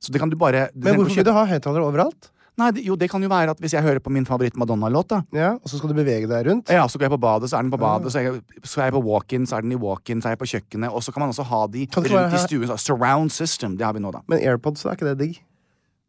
Speaker 1: Så det kan du bare du trenger ikke
Speaker 2: Men
Speaker 1: å
Speaker 2: hvorfor
Speaker 1: kjøpe-
Speaker 2: vil du ha høyttalere overalt?
Speaker 1: Nei, det, Jo, det kan jo være at hvis jeg hører på min favoritt-Madonna-låt, da
Speaker 2: Ja, Og så skal du bevege deg rundt?
Speaker 1: ja, så går jeg på badet, så er den på
Speaker 2: Ah.
Speaker 1: badet, så er jeg, så er jeg på walk-in, så er den i walk-in, så er jeg på kjøkkenet, og så kan man også ha de
Speaker 2: Kan det ikke
Speaker 1: rundt i
Speaker 2: være-
Speaker 1: stuen. så- Surround system, det har vi nå, da.
Speaker 2: Men AirPods, er ikke det digg?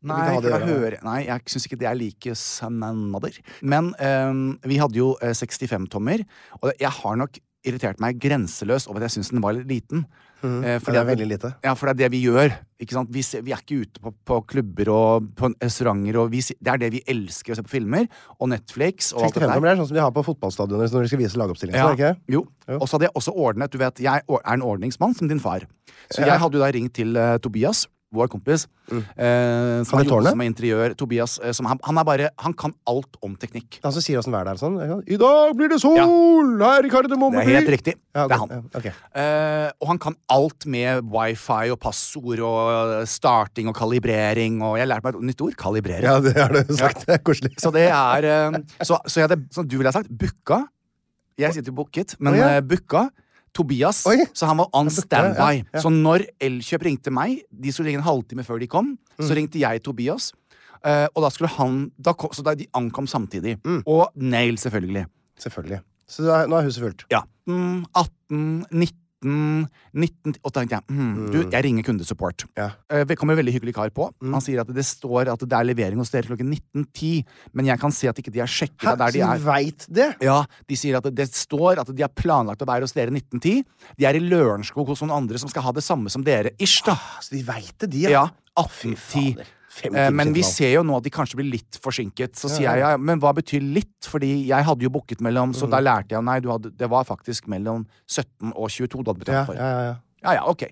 Speaker 1: Nei,
Speaker 2: ikke ha
Speaker 1: for
Speaker 2: det i
Speaker 1: da
Speaker 2: øra.
Speaker 1: hører, nei, jeg syns ikke det er like sannader. Men ehm, vi hadde jo eh, 65 tommer, og jeg har nok irritert meg grenseløst over at jeg syns den var litt liten. Eh,
Speaker 2: For det Mm, er
Speaker 1: at-
Speaker 2: veldig lite.
Speaker 1: Ja, for det er det vi gjør. Ikke sant? Vi, ser, vi er ikke ute på, på klubber og på restauranter. Og vi, se- det er det vi elsker å se på filmer. Og Netflix og alt
Speaker 2: 65
Speaker 1: det der.
Speaker 2: tommer er sånn som de har på fotballstadioner når de skal vise lagoppstillingen. så er det
Speaker 1: Ja.
Speaker 2: ikke?
Speaker 1: Jo. Og så hadde jeg også ordnet Du vet, jeg or- er en ordningsmann som din far. Så jeg hadde jo da ringt til eh, Tobias, vår kompis. eh, som
Speaker 2: Mm. Kan
Speaker 1: er
Speaker 2: det
Speaker 1: jo-
Speaker 2: tårnet?
Speaker 1: Som er interiør. Tobias, eh, som han, han er bare Han kan alt om teknikk.
Speaker 2: Han som sier åssen været er og sånn. ikke sant? I dag blir det sol! Her i
Speaker 1: Det
Speaker 2: Kardemommeby!
Speaker 1: er helt riktig.
Speaker 2: Ja,
Speaker 1: Det er
Speaker 2: ok,
Speaker 1: han.
Speaker 2: ja, ok.
Speaker 1: Eh, og han kan alt med wifi og passord og starting og kalibrering og Jeg lærte meg et nytt ord. Kalibrere.
Speaker 2: Ja, det har du sagt. Det er koselig.
Speaker 1: Så det er eh, Så, så jeg hadde, som du ville ha sagt, booka. Jeg sitter jo booket, men
Speaker 2: Å, ja.
Speaker 1: eh, booka. Tobias,
Speaker 2: Oi.
Speaker 1: så han var on
Speaker 2: booka,
Speaker 1: standby.
Speaker 2: ja, ja.
Speaker 1: Så når Elkjøp ringte meg, de skulle ringe en halvtime før de kom,
Speaker 2: Mm.
Speaker 1: så ringte jeg Tobias. eh, og da skulle han da kom, Så da de ankom samtidig.
Speaker 2: Mm.
Speaker 1: Og Nail, selvfølgelig.
Speaker 2: Selvfølgelig. Så da- nå er huset fullt.
Speaker 1: Ja. 18, 19 19, og da tenkte jeg hmm, du, jeg ringer kundesupport.
Speaker 2: Mm. Ja. Mm.
Speaker 1: Eh, Det kommer en veldig hyggelig kar på. Han sier at det står at det er levering hos dere klokken 19.10, men jeg kan se at ikke de har sjekket det
Speaker 2: Hæ?
Speaker 1: der de
Speaker 2: Så
Speaker 1: er.
Speaker 2: du veit det?
Speaker 1: Ja, De sier at det står at de har planlagt å være hos dere 1910. De er i Lørenskog hos noen andre som skal ha det samme som dere. Ish, da.
Speaker 2: Så de veit det, de,
Speaker 1: Ja,
Speaker 2: Fy fader.
Speaker 1: 1810.
Speaker 2: Fem
Speaker 1: Eh,
Speaker 2: timer
Speaker 1: Men vi
Speaker 2: siden, da.
Speaker 1: ser jo nå at de kanskje blir litt forsinket. Så sier jeg ja, men hva betyr litt? Fordi jeg hadde jo booket mellom, så
Speaker 2: Mm.
Speaker 1: da lærte jeg nei, du hadde, det var faktisk mellom 17 og 22 du hadde betalt
Speaker 2: Ja,
Speaker 1: for.
Speaker 2: ja, ja, ja.
Speaker 1: Ja, ja, ok.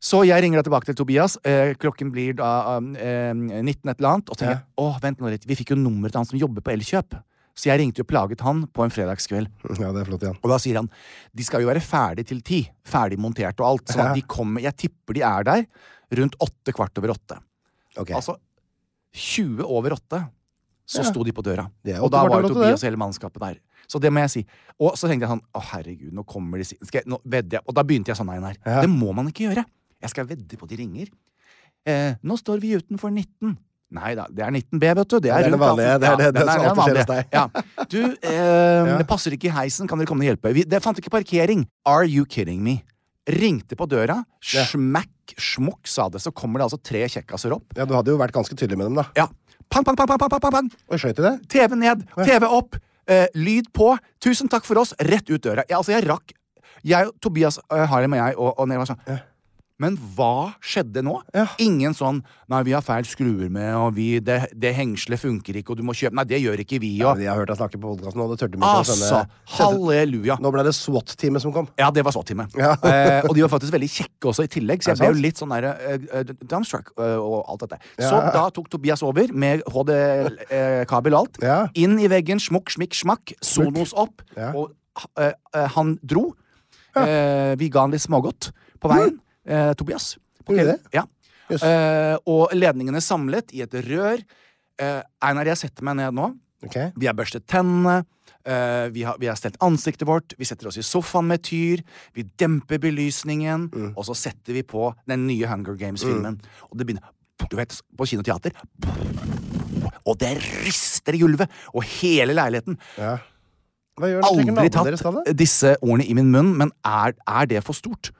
Speaker 1: Så jeg ringer da tilbake til Tobias. Eh, klokken blir da um, eh, 19 et eller annet. Og tenker jeg, åh, vent nå litt, vi fikk jo nummeret til han som jobber på Elkjøp. Så jeg ringte jo plaget han på en fredagskveld.
Speaker 2: Ja, det er flott igjen.
Speaker 1: Og da sier han de skal jo være ferdig til ti. Ferdig montert og alt. Sånn at de kommer, jeg tipper de er der rundt åtte kvart over åtte.
Speaker 2: Ok.
Speaker 1: Altså 20 over åtte så sto de på døra.
Speaker 2: Det er
Speaker 1: Og
Speaker 2: åtte
Speaker 1: da
Speaker 2: kvart
Speaker 1: var
Speaker 2: over
Speaker 1: jo
Speaker 2: åtte,
Speaker 1: Tobias
Speaker 2: det.
Speaker 1: og hele mannskapet der. Så det må jeg si. Og så tenkte jeg sånn Å, herregud, nå kommer de si- skal jeg, nå vedder jeg. Og da begynte jeg sånn, nei, nei. Det må man ikke gjøre. Jeg skal vedde på de ringer. Eh, nå står vi utenfor 19. Nei da, det er 19B, vet du. Det er,
Speaker 2: Det er den
Speaker 1: rundt
Speaker 2: vanlige,
Speaker 1: atten.
Speaker 2: det er det- det
Speaker 1: den
Speaker 2: som
Speaker 1: den
Speaker 2: alltid skjer
Speaker 1: vanlige.
Speaker 2: hos deg.
Speaker 1: Ja. Du, eh, det passer ikke i heisen, kan dere komme og hjelpe? Vi, det fant ikke parkering. Are you kidding me? Ringte på døra, smekk, smokk, sa det. Så kommer det altså tre kjekkaser opp.
Speaker 2: Ja, du hadde jo vært ganske tydelig med dem, da.
Speaker 1: Ja. Pang, pang, pang, pang, pang, pang, pang, pang.
Speaker 2: Og skøyt i det?
Speaker 1: TV ned, TV opp, eh, lyd på. Tusen takk for oss. Rett ut døra. Jeg, altså, jeg rakk jeg, Tobias eh, Harlem og jeg og, og Nel var sånn Men hva skjedde nå? Ingen sånn 'Nei, vi har feil skruer med, og vi, det, det hengselet funker ikke, og du må kjøpe Nei, det gjør ikke vi,
Speaker 2: Ja,
Speaker 1: og
Speaker 2: de har hørt deg snakke på podkasten, og det tørte de ikke å
Speaker 1: Altså!
Speaker 2: sende-
Speaker 1: Halleluja.
Speaker 2: Nå ble det SWAT-teamet som kom.
Speaker 1: Ja, det var SWAT-time.
Speaker 2: Ja.
Speaker 1: eh, og de var faktisk veldig kjekke også i tillegg, så
Speaker 2: Er det
Speaker 1: jeg ble
Speaker 2: sant?
Speaker 1: jo litt sånn der, eh, eh, dumbstruck eh, og alt dette. Så da tok Tobias over med HD-kabel og alt.
Speaker 2: Ja.
Speaker 1: Inn i veggen, smokk, smikk, smakk. Sonos opp.
Speaker 2: Ja.
Speaker 1: Og eh, eh, han dro. Eh, vi ga han litt smågodt på veien. Eh, Tobias.
Speaker 2: Mm. Gjorde
Speaker 1: Ok,
Speaker 2: det?
Speaker 1: Ja.
Speaker 2: Jøss.
Speaker 1: Eh, og ledningene samlet i et rør. Eh, Einar, jeg setter meg ned nå.
Speaker 2: Ok.
Speaker 1: Vi har børstet tennene. eh, vi, har, vi har stelt ansiktet vårt. Vi setter oss i sofaen med tyr. Vi demper belysningen.
Speaker 2: Mm.
Speaker 1: Og så setter vi på den nye Hunger Games-filmen. Og det begynner Du vet, på kinoteater. Og det rister i gulvet! Og hele leiligheten.
Speaker 2: Ja. Hva gjør dere? Trekker
Speaker 1: Aldri
Speaker 2: navnene deres da, da?
Speaker 1: tatt disse ordene i min munn, men er, er det for stort?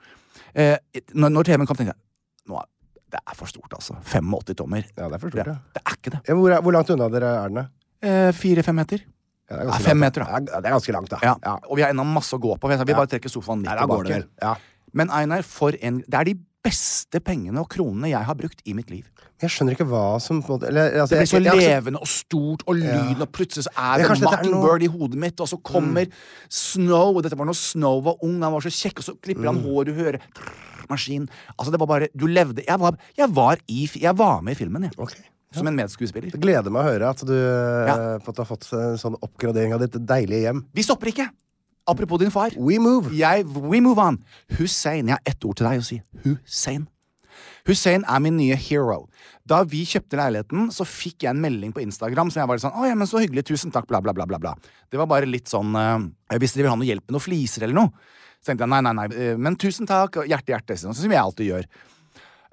Speaker 1: Eh, når når TV-en kom, tenkte jeg nå, er- det er for stort, altså. 85 tommer.
Speaker 2: Ja, det er for stort, ja.
Speaker 1: Det er ikke det.
Speaker 2: Ja, men Hvor, er, hvor langt unna dere er den? da?
Speaker 1: Eh, Fire-fem meter.
Speaker 2: Ja, det
Speaker 1: Ja,
Speaker 2: ganske
Speaker 1: fem
Speaker 2: langt,
Speaker 1: meter, da.
Speaker 2: Ja, det er ganske langt, da.
Speaker 1: Ja. Og vi har ennå masse å gå på. Vi vi bare trekker sofaen litt
Speaker 2: Nei, da går
Speaker 1: tilbake.
Speaker 2: det vel. Ja.
Speaker 1: Men Einar, for en Det er de beste pengene og kronene jeg har brukt i mitt liv.
Speaker 2: Jeg skjønner ikke hva som på en måte, eller, altså,
Speaker 1: Det blir så
Speaker 2: jeg- jeg- jeg-
Speaker 1: levende og stort og lyn, og plutselig så er
Speaker 2: Men
Speaker 1: det
Speaker 2: kanskje dette er Mm.
Speaker 1: Mockingbird i hodet mitt, og så kommer Snow, og dette var når Snow var ung, han var så kjekk, og så klipper
Speaker 2: Mm.
Speaker 1: han hår, du hører trrr, Maskin. Altså, det var bare Du levde Jeg var, jeg var, i, fi- jeg var med i filmen, jeg.
Speaker 2: Ok.
Speaker 1: Som en medskuespiller.
Speaker 2: Det gleder meg å høre at du eh, på en måte har fått en sånn oppgradering av ditt deilige hjem.
Speaker 1: Vi stopper ikke! Apropos din far.
Speaker 2: We move!
Speaker 1: Jeg, we move on. Hussein. Jeg har ett ord til deg å si. Hussein. Hussein er min nye hero. Da vi kjøpte leiligheten, så fikk jeg en melding på Instagram som jeg var litt sånn Å ja, men så hyggelig. Tusen takk. Bla, bla, bla, bla. bla. Det var bare litt sånn eh, Hvis dere vil ha noe hjelp med noen fliser eller noe. Så tenkte jeg nei, nei, nei. eh, Men tusen takk. og Hjerte, hjerte. Sånn som jeg alltid gjør.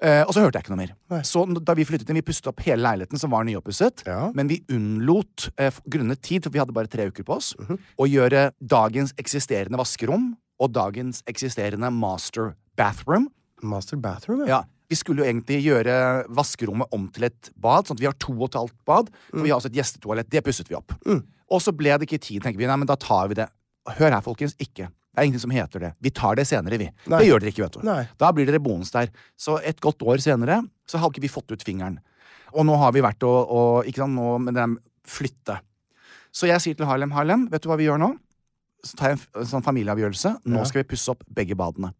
Speaker 1: Eh, og så hørte jeg ikke noe mer. Så n- da vi flyttet inn, vi pustet opp hele leiligheten som var nyoppusset,
Speaker 2: Ja.
Speaker 1: men vi unnlot eh, f- grunnet tid, for vi hadde bare tre uker på oss,
Speaker 2: Mhm.
Speaker 1: å gjøre dagens eksisterende vaskerom og dagens eksisterende master bathroom.
Speaker 2: Master bathroom,
Speaker 1: Ja, vi skulle jo egentlig gjøre vaskerommet om til et bad, sånn at vi har to og et halvt bad, for
Speaker 2: Mm.
Speaker 1: vi har også et gjestetoalett. Det pusset vi opp. Og så ble det ikke tid, tenker vi. Nei, men da tar vi det. Hør her, folkens, ikke. Det er ingenting som heter det. Vi tar det senere, vi.
Speaker 2: Nei.
Speaker 1: Det gjør dere ikke, vet du.
Speaker 2: Nei.
Speaker 1: Da blir dere boende der. Så et godt år senere så hadde ikke vi fått ut fingeren. Og nå har vi vært og, og ikke sant, nå med dem flytte. Så jeg sier til Harlem, Harlem, vet du hva vi gjør nå? Så tar jeg en f- en sånn familieavgjørelse. Nå skal vi pusse opp begge badene.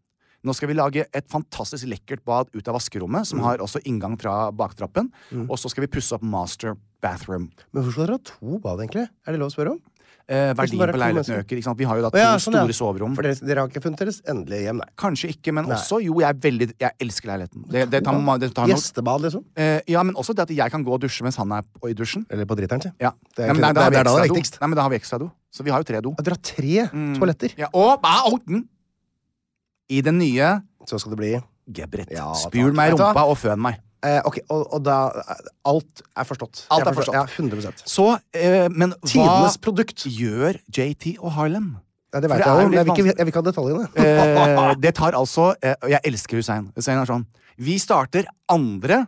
Speaker 1: Nå skal vi lage et fantastisk lekkert bad ut av vaskerommet,
Speaker 2: Mm.
Speaker 1: som har også inngang fra baktrappen. Og så skal vi pusse opp master bathroom.
Speaker 2: Men hvorfor skal dere ha to bad, egentlig? Er det lov å spørre om?
Speaker 1: Eh,
Speaker 2: Hvis det
Speaker 1: verdien på
Speaker 2: bare er to
Speaker 1: leiligheten
Speaker 2: mennesker.
Speaker 1: øker. Ikke sant? Vi har jo da
Speaker 2: Å
Speaker 1: to
Speaker 2: ja, sånn, ja.
Speaker 1: store soverom.
Speaker 2: For dere, dere har ikke funnet deres endelige hjem, nei.
Speaker 1: Kanskje ikke, men
Speaker 2: Nei.
Speaker 1: også Jo, jeg, er veldig, jeg elsker leiligheten. Det, det tar, ma- det tar nok,
Speaker 2: Gjestebad, liksom?
Speaker 1: eh, ja, men også det at jeg kan gå og dusje mens han er på, i dusjen.
Speaker 2: Eller på driteren, si.
Speaker 1: Ja.
Speaker 2: Det
Speaker 1: Nei,
Speaker 2: er,
Speaker 1: men
Speaker 2: egentlig-
Speaker 1: der- der har vi
Speaker 2: det er da det er
Speaker 1: ekstra do.
Speaker 2: viktigst.
Speaker 1: Nei, men da har vi ekstra do. Så vi har jo tre do.
Speaker 2: Ja, Dere har tre
Speaker 1: Mm.
Speaker 2: toaletter.
Speaker 1: Ja, og ah, oh, mm. I den nye
Speaker 2: Så skal det bli
Speaker 1: Gebret.
Speaker 2: Ja,
Speaker 1: Spul
Speaker 2: takk.
Speaker 1: meg i
Speaker 2: Vet du hva?
Speaker 1: rumpa og føn meg.
Speaker 2: eh, Ok, og, og da eh, Alt er forstått.
Speaker 1: Alt
Speaker 2: Jeg
Speaker 1: er forstått.
Speaker 2: forstår- Ja, 100
Speaker 1: Så, eh, men hva
Speaker 2: Tidenes produkt.
Speaker 1: gjør JT og Harlem?
Speaker 2: Ja, det
Speaker 1: For det
Speaker 2: veit jeg
Speaker 1: er
Speaker 2: jo,
Speaker 1: jo
Speaker 2: men jeg vil,
Speaker 1: litt
Speaker 2: ikke, jeg vil ikke ha detaljene.
Speaker 1: Eh, det tar altså eh, Og jeg elsker Hussein. Hussein er sånn Vi starter andre